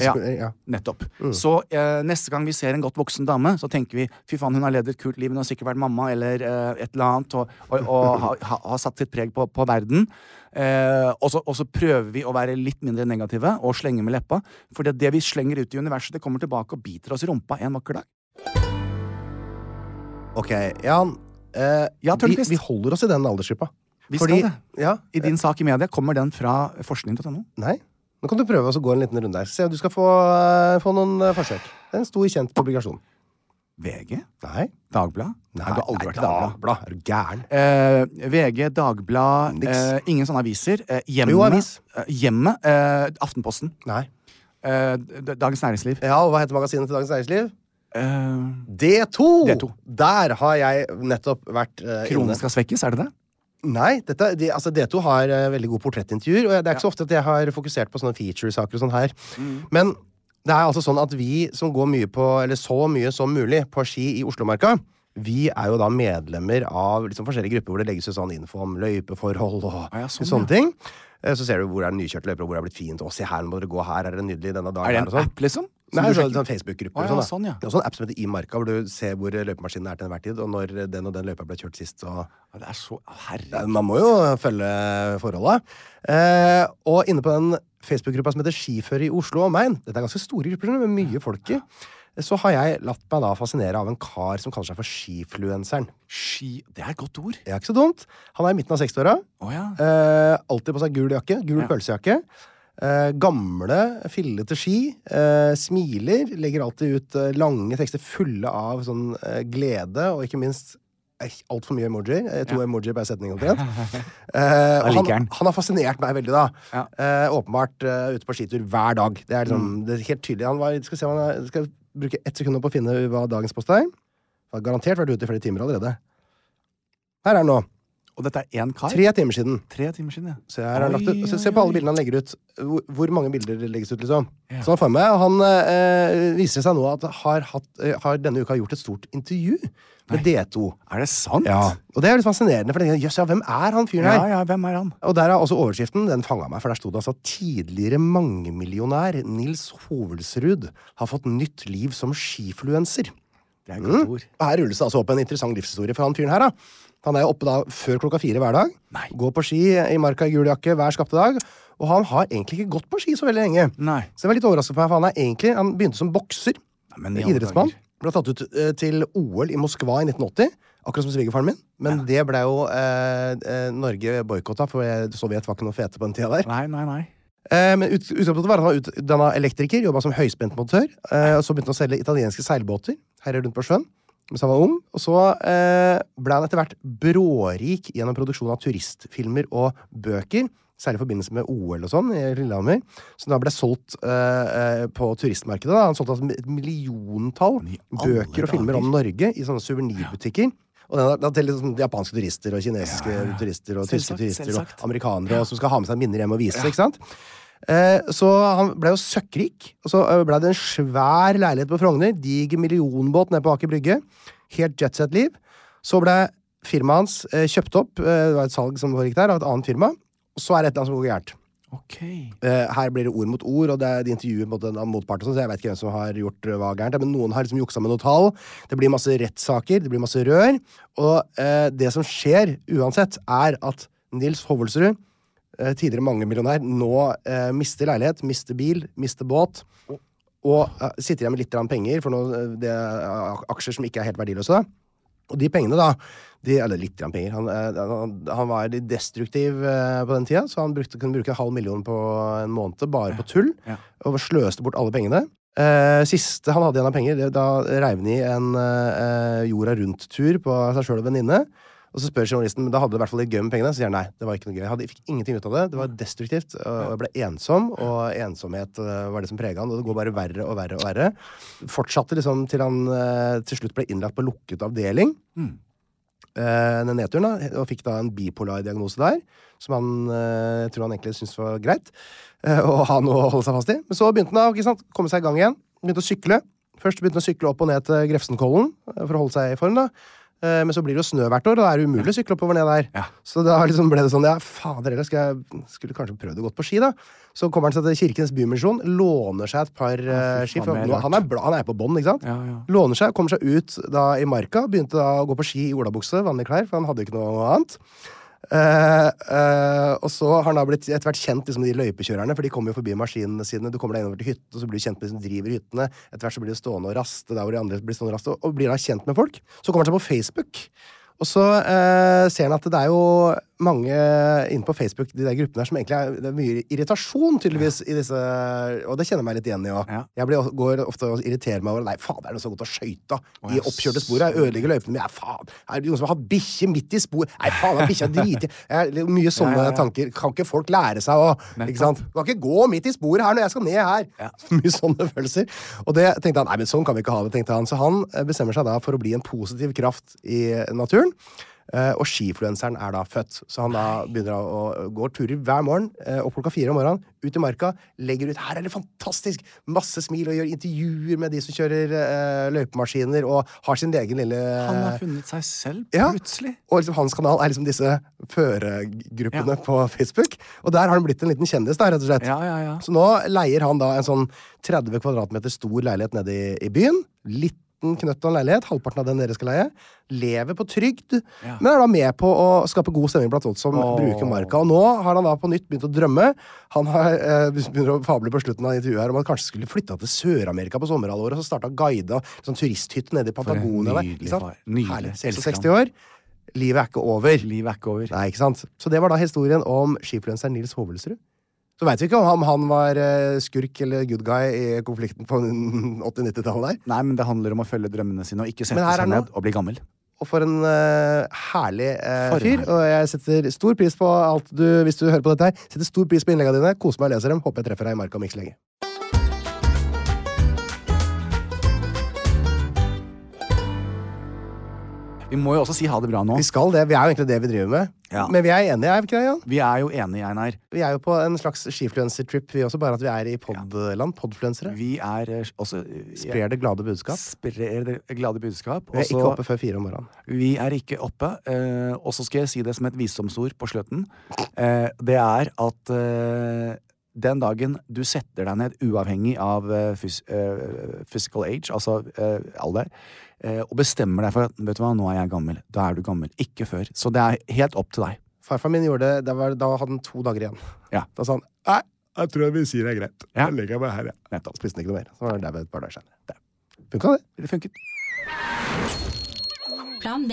Speaker 1: Ja.
Speaker 2: ja. Mm.
Speaker 1: Nettopp. Så eh, neste gang vi ser en godt voksen dame, så tenker vi fy faen, hun har levd et kult liv, hun har sikkert vært mamma eller eh, et eller annet, og, og, og har ha, har satt sitt preg på, på verden. Eh, og, så, og så prøver vi å være litt mindre negative og slenge med leppa. For det, det vi slenger ut i universet, det kommer tilbake og biter oss i rumpa en vakker dag.
Speaker 2: Ok, Jan. eh,
Speaker 1: Ja,
Speaker 2: vi,
Speaker 1: Tørnquist.
Speaker 2: vi holder oss i den aldersgruppa.
Speaker 1: Vi
Speaker 2: Fordi-
Speaker 1: skal det.
Speaker 2: Ja,
Speaker 1: I din sak i media kommer den fra forskning.no.
Speaker 2: Nei. Nå kan du prøve å gå en liten runde her. Se, du skal få, eh, få noen eh, forsøk. Det er En stor, kjent publikasjon.
Speaker 1: VG?
Speaker 2: Nei.
Speaker 1: Dagbladet? Nei, du har aldri vært i Dagbladet.
Speaker 2: Dagbladet. Er du gæren?
Speaker 1: Eh, VG, Dagblad,
Speaker 2: Niks.
Speaker 1: eh, ingen sånne aviser. Eh, hjemmet,
Speaker 2: Jo, avis.
Speaker 1: eh, hjemmet, eh, Aftenposten,
Speaker 2: Nei.
Speaker 1: eh, D- Dagens Næringsliv.
Speaker 2: Ja, og hva heter magasinet til Dagens Næringsliv?
Speaker 1: Eh,
Speaker 2: D2!
Speaker 1: D2.
Speaker 2: Der har jeg nettopp vært uh,
Speaker 1: kronen skal svekkes, er det det?
Speaker 2: Nei, dette, de, altså D2 har eh, veldig gode portrettintervjuer, og jeg- det er ikke så ofte at jeg har fokusert på sånne feature-saker og sånn her.
Speaker 1: Mm.
Speaker 2: Men det er altså sånn at vi som går mye på, eller så mye som mulig, på ski i Oslomarka, vi er jo da medlemmer av liksom forskjellige grupper hvor det legges ut sånn info om løypeforhold og
Speaker 1: Ah, ja, sånn,
Speaker 2: sånne
Speaker 1: ja.
Speaker 2: ting. Eh, Så ser du hvor er det nykjørt løyper, og hvor er det blitt fint, og se her, nå må dere gå her, er det nydelig denne dagen
Speaker 1: Er det
Speaker 2: her, og
Speaker 1: en
Speaker 2: sånn.
Speaker 1: app, liksom? Som
Speaker 2: Nei,
Speaker 1: du
Speaker 2: så,
Speaker 1: sjekker?
Speaker 2: sånn Facebook-grupper.
Speaker 1: Å,
Speaker 2: og
Speaker 1: ja,
Speaker 2: da.
Speaker 1: sånn, ja.
Speaker 2: Det er også en app som heter I marka, hvor du ser hvor løypemaskinene er til enhver tid, og når den og den løypa ble kjørt sist. og...
Speaker 1: Ja, Det er så
Speaker 2: Ja,
Speaker 1: Herregud.
Speaker 2: Man må jo følge forholda. Eh, og inne på den Facebook-gruppa som heter Skiføre i Oslo og Main, dette er ganske store grupper med mye folk i, så har jeg latt meg da fascinere av en kar som kaller seg for Skifluenseren.
Speaker 1: Ski Det er et godt ord.
Speaker 2: Det er ikke så dumt. Han er i midten av 60-åra.
Speaker 1: Å ja.
Speaker 2: Eh, alltid på seg gul jakke. Gul
Speaker 1: Ja.
Speaker 2: pølsejakke. Eh, gamle, fillete ski. Eh, smiler. Legger alltid ut eh, lange tekster fulle av sånn eh, glede, og ikke minst altfor mye emojier. Eh, to emojier per setning, omtrent. Eh, og
Speaker 1: Jeg liker
Speaker 2: han,
Speaker 1: den.
Speaker 2: han har fascinert meg veldig, da.
Speaker 1: Ja. Mm.
Speaker 2: Eh, åpenbart eh, ute på skitur hver dag. Det er, liksom, det er helt tydelig. Han var, skal, se, hva han er, skal bruke ett sekund på å finne hva dagens post er. Han har garantert vært ute i flere timer allerede. Her er han nå.
Speaker 1: Og dette er én kar?
Speaker 2: Tre timer siden.
Speaker 1: Tre timer siden, ja.
Speaker 2: Se, her har han lagt
Speaker 1: Oi,
Speaker 2: ut. Se,
Speaker 1: oi,
Speaker 2: se på alle
Speaker 1: oi.
Speaker 2: bildene han legger ut. Hvor, hvor mange bilder legges ut, liksom?
Speaker 1: Ja.
Speaker 2: Så han får med, og han eh, viser seg nå at har, hatt, eh, har denne uka gjort et stort intervju med D2.
Speaker 1: Er det sant?
Speaker 2: Og det er litt fascinerende, for jeg tenker, jøss, ja, hvem er han fyren her?
Speaker 1: Ja, ja, hvem er han?
Speaker 2: Og der er også overskriften. Den fanga meg, for der sto det altså tidligere mangemillionær Nils Hovelsrud har fått nytt liv som skifluenser.
Speaker 1: Det er et godt ord.
Speaker 2: Og Her rulles det altså opp en interessant livshistorie for han fyren her. da. Han er jo oppe da før klokka fire hver dag.
Speaker 1: Nei.
Speaker 2: Går på ski i marka i gul jakke hver skapte dag. Og han har egentlig ikke gått på ski så veldig lenge.
Speaker 1: Nei.
Speaker 2: Så jeg var litt overrasket for meg, for han er egentlig, han begynte som bokser.
Speaker 1: Nei, men i alle
Speaker 2: idrettsmann.
Speaker 1: dager.
Speaker 2: Ble tatt ut eh, til OL i Moskva i 1980, akkurat som svigerfaren min. Men det ble jo eh, eh, Norge boikotta, for eh, Sovjet var ikke noe fete på den tida der.
Speaker 1: Nei, nei, nei.
Speaker 2: Eh, men ut, utgangspunktet var at han var utdanna elektriker, jobba som høyspentmontør. Eh, og så begynte han å selge italienske seilbåter her rundt på sjøen mens han var ung. Og så eh, ble han etter hvert brårik gjennom produksjon av turistfilmer og bøker. Særlig i forbindelse med OL og sånn i Lillehammer. Som da ble solgt eh, eh, på turistmarkedet. Da. Han solgte altså et milliontall
Speaker 1: Men i alle
Speaker 2: bøker og filmer om Norge i sånne suvenirbutikker. Og den er- da til liksom japanske turister og kinesiske turister og tyske
Speaker 1: Selvsagt,
Speaker 2: turister
Speaker 1: selvsagt.
Speaker 2: og amerikanere og som skal ha med seg minner hjem og vise. ikke sant? Eh, så han ble jo søkkrik. Og så eh, ble det en svær leilighet på Frogner. Diger millionbåt nede på Aker Brygge. Helt jetset-liv. Så ble firmaet hans eh, kjøpt opp. Eh, det var et salg som foregikk der, av et annet firma. Og så er det et eller annet som går gærent.
Speaker 1: Ok.
Speaker 2: Eh, her blir det ord mot ord, og det er et intervju mot en annen motpart. og sånn, Så jeg vet ikke hvem som har gjort eh, hva gærent, men noen har liksom juksa med noen tall. Det blir masse rettssaker, det blir masse rør. Og eh, det som skjer uansett, er at Nils Hovelsrud, eh, tidligere mangemillionær, nå eh, mister leilighet, mister bil, mister båt. Og eh, sitter igjen med litt grann penger for noe, eh, det, er aksjer som ikke er helt verdiløse. da. Og de pengene, da de, Eller litt grann penger. Han, eh, han, han var litt destruktiv eh, på den tida, så han brukte, kunne bruke en halv million på en måned bare på tull.
Speaker 1: ja.
Speaker 2: Og sløste bort alle pengene. Eh, siste han hadde igjen av penger, det, da reiv han i en eh, jorda rundt-tur på seg sjøl og venninne. Og så spør journalisten men da hadde du i hvert fall litt gøy med pengene. Så sier han nei, det var ikke noe gøy. Jeg hadde, jeg fikk ingenting ut av det. Det var destruktivt. Og og jeg ble ensom, og ensomhet eh, var det som prega han. Og det går bare verre og verre og verre. Fortsatte liksom til han eh, til slutt ble innlagt på lukket avdeling eh, den nedturen, da, og fikk da en bipolar diagnose der, som han eh, jeg tror han egentlig syntes var greit eh, å ha noe å holde seg fast i. Men så begynte han å ikke sant, komme seg i gang igjen. Begynte å sykle. Først begynte han å sykle opp og ned til Grefsenkollen eh, for å holde seg i form. da. Eh, Men så blir det jo snø hvert år, og da er det umulig å sykle oppover ned der.
Speaker 1: Ja.
Speaker 2: Så da liksom ble det sånn ja, fader heller, skal jeg, skulle kanskje prøvd å gå på ski, da. Så kommer han seg til Kirkens Bymisjon, låner seg et par eh, ski.
Speaker 1: faen,
Speaker 2: For
Speaker 1: det er
Speaker 2: nå,
Speaker 1: rart.
Speaker 2: han, er bla, han er på bånn, ikke sant?
Speaker 1: Ja, ja.
Speaker 2: Låner seg, kommer seg ut da i marka. Begynte da å gå på ski i olabukse, vanlige klær, for han hadde jo ikke noe annet. Eh, eh, og så har han da blitt etter hvert kjent liksom, de løypekjørerne, for de kommer jo forbi maskinene sine. Du kommer deg innover til hytte, og så blir du kjent med de som driver hyttene. Etter hvert så blir du stående og raste der hvor de andre blir stående og raste, og blir da kjent med folk. Så kommer han seg på Facebook. Og så eh, ser han at det er jo mange inne på Facebook, de der gruppene her, som egentlig er, det er mye irritasjon, tydeligvis, i disse Og det kjenner jeg meg litt igjen i òg.
Speaker 1: Ja.
Speaker 2: Jeg blir, går ofte og irriterer meg over Nei, fader, er det så godt å skøyte i
Speaker 1: ja,
Speaker 2: oppkjørte spor? Jeg ødelegger løypene mine. Ja, faen, er det noen som har hatt bikkje midt i spor? Nei, faen, er bikkja driti Jeg er litt- Mye sånne
Speaker 1: ja, ja.
Speaker 2: tanker. Kan ikke folk lære seg å Ikke sant? Du kan ikke gå midt i sporet her når jeg skal ned her! Mye sånne følelser. Og det tenkte han, nei, men sånn kan vi ikke ha det, tenkte han. Så han eh, bestemmer seg da for å bli en positiv kraft i naturen. Eh, og skifluenseren er da født. Så han da begynner å, å gå turer hver morgen, eh, opp klokka fire om morgenen, ut i marka, legger ut 'Her er det fantastisk!' Masse smil, og gjør intervjuer med de som kjører eh, løypemaskiner, og har sin egen lille
Speaker 1: Han har funnet seg selv,
Speaker 2: Eh. Ja.
Speaker 1: plutselig.
Speaker 2: og liksom, hans kanal er liksom disse førergruppene på Facebook. Og der har han blitt en liten kjendis, da, rett og slett.
Speaker 1: Ja, ja, ja.
Speaker 2: Så nå leier han da en sånn 30 kvadratmeter stor leilighet nede i, i byen. Liten knøtt av en leilighet, halvparten av den dere skal leie. Lever på trygd,
Speaker 1: Ja.
Speaker 2: men er da med på å skape god stemning blant folk som bruker marka. Og nå har han da på nytt begynt å drømme. Han har, eh, begynner å fable på slutten av intervjuet her om at han kanskje skulle flytta til Sør-Amerika på sommerhalvåret og så starta guida sånn turisthytte nede
Speaker 1: en
Speaker 2: i Patagonia. der, ikke
Speaker 1: nydelig
Speaker 2: sant?
Speaker 1: far. Nydelig.
Speaker 2: Herlig.
Speaker 1: Elsker
Speaker 2: 66 år. Livet er ikke over.
Speaker 1: Livet er ikke over.
Speaker 2: Nei, ikke sant? Så det var da historien om skifluenseren Nils Hovelsrud. Så veit vi ikke om han var eh, skurk eller good guy i konflikten på 80-90-tallet der.
Speaker 1: Nei, men det handler om å følge drømmene sine og ikke sette
Speaker 2: Men her er
Speaker 1: seg
Speaker 2: nå-
Speaker 1: ned og bli gammel.
Speaker 2: Og for en eh, herlig eh,
Speaker 1: For en
Speaker 2: fyr.
Speaker 1: herlig.
Speaker 2: Og jeg setter stor pris på alt du Hvis du hører på dette her, setter stor pris på innleggene dine. Koser meg og leser dem. Håper jeg treffer deg i marka om ikke så lenge.
Speaker 1: Vi må jo også si ha det bra nå.
Speaker 2: Vi skal det. Vi er jo egentlig det vi driver med.
Speaker 1: Ja.
Speaker 2: Men vi er enige, er vi ikke det, Jan?
Speaker 1: Vi er jo enige, Einar.
Speaker 2: Vi er jo på en slags skifluencer-trip, vi også, bare at vi er i podland. Podfluensere.
Speaker 1: Vi er eh, også eh,
Speaker 2: Sprer det glade budskap.
Speaker 1: sprer det glade budskap.
Speaker 2: Vi
Speaker 1: Og
Speaker 2: er ikke
Speaker 1: så
Speaker 2: oppe før fire om morgenen.
Speaker 1: Vi er ikke oppe. eh, og så skal jeg si det som et visdomsord på slutten. Eh, det er at eh, den dagen du setter deg ned, uavhengig av eh, fys eh, physical age, altså eh, alder, eh, og bestemmer deg for at vet du hva, nå er jeg gammel, da er du gammel. Ikke før. Så det er helt opp til deg.
Speaker 2: Farfar min gjorde det, det var, da hadde han to dager igjen.
Speaker 1: Ja.
Speaker 2: Da sa han nei, jeg tror vi sier det er greit.
Speaker 1: Ja.
Speaker 2: Jeg legger meg her, jeg.
Speaker 1: Nettopp.
Speaker 2: Spiste han ikke noe mer. Så var han der et par dager senere. Funka det?
Speaker 1: Det funket.
Speaker 3: Plan B.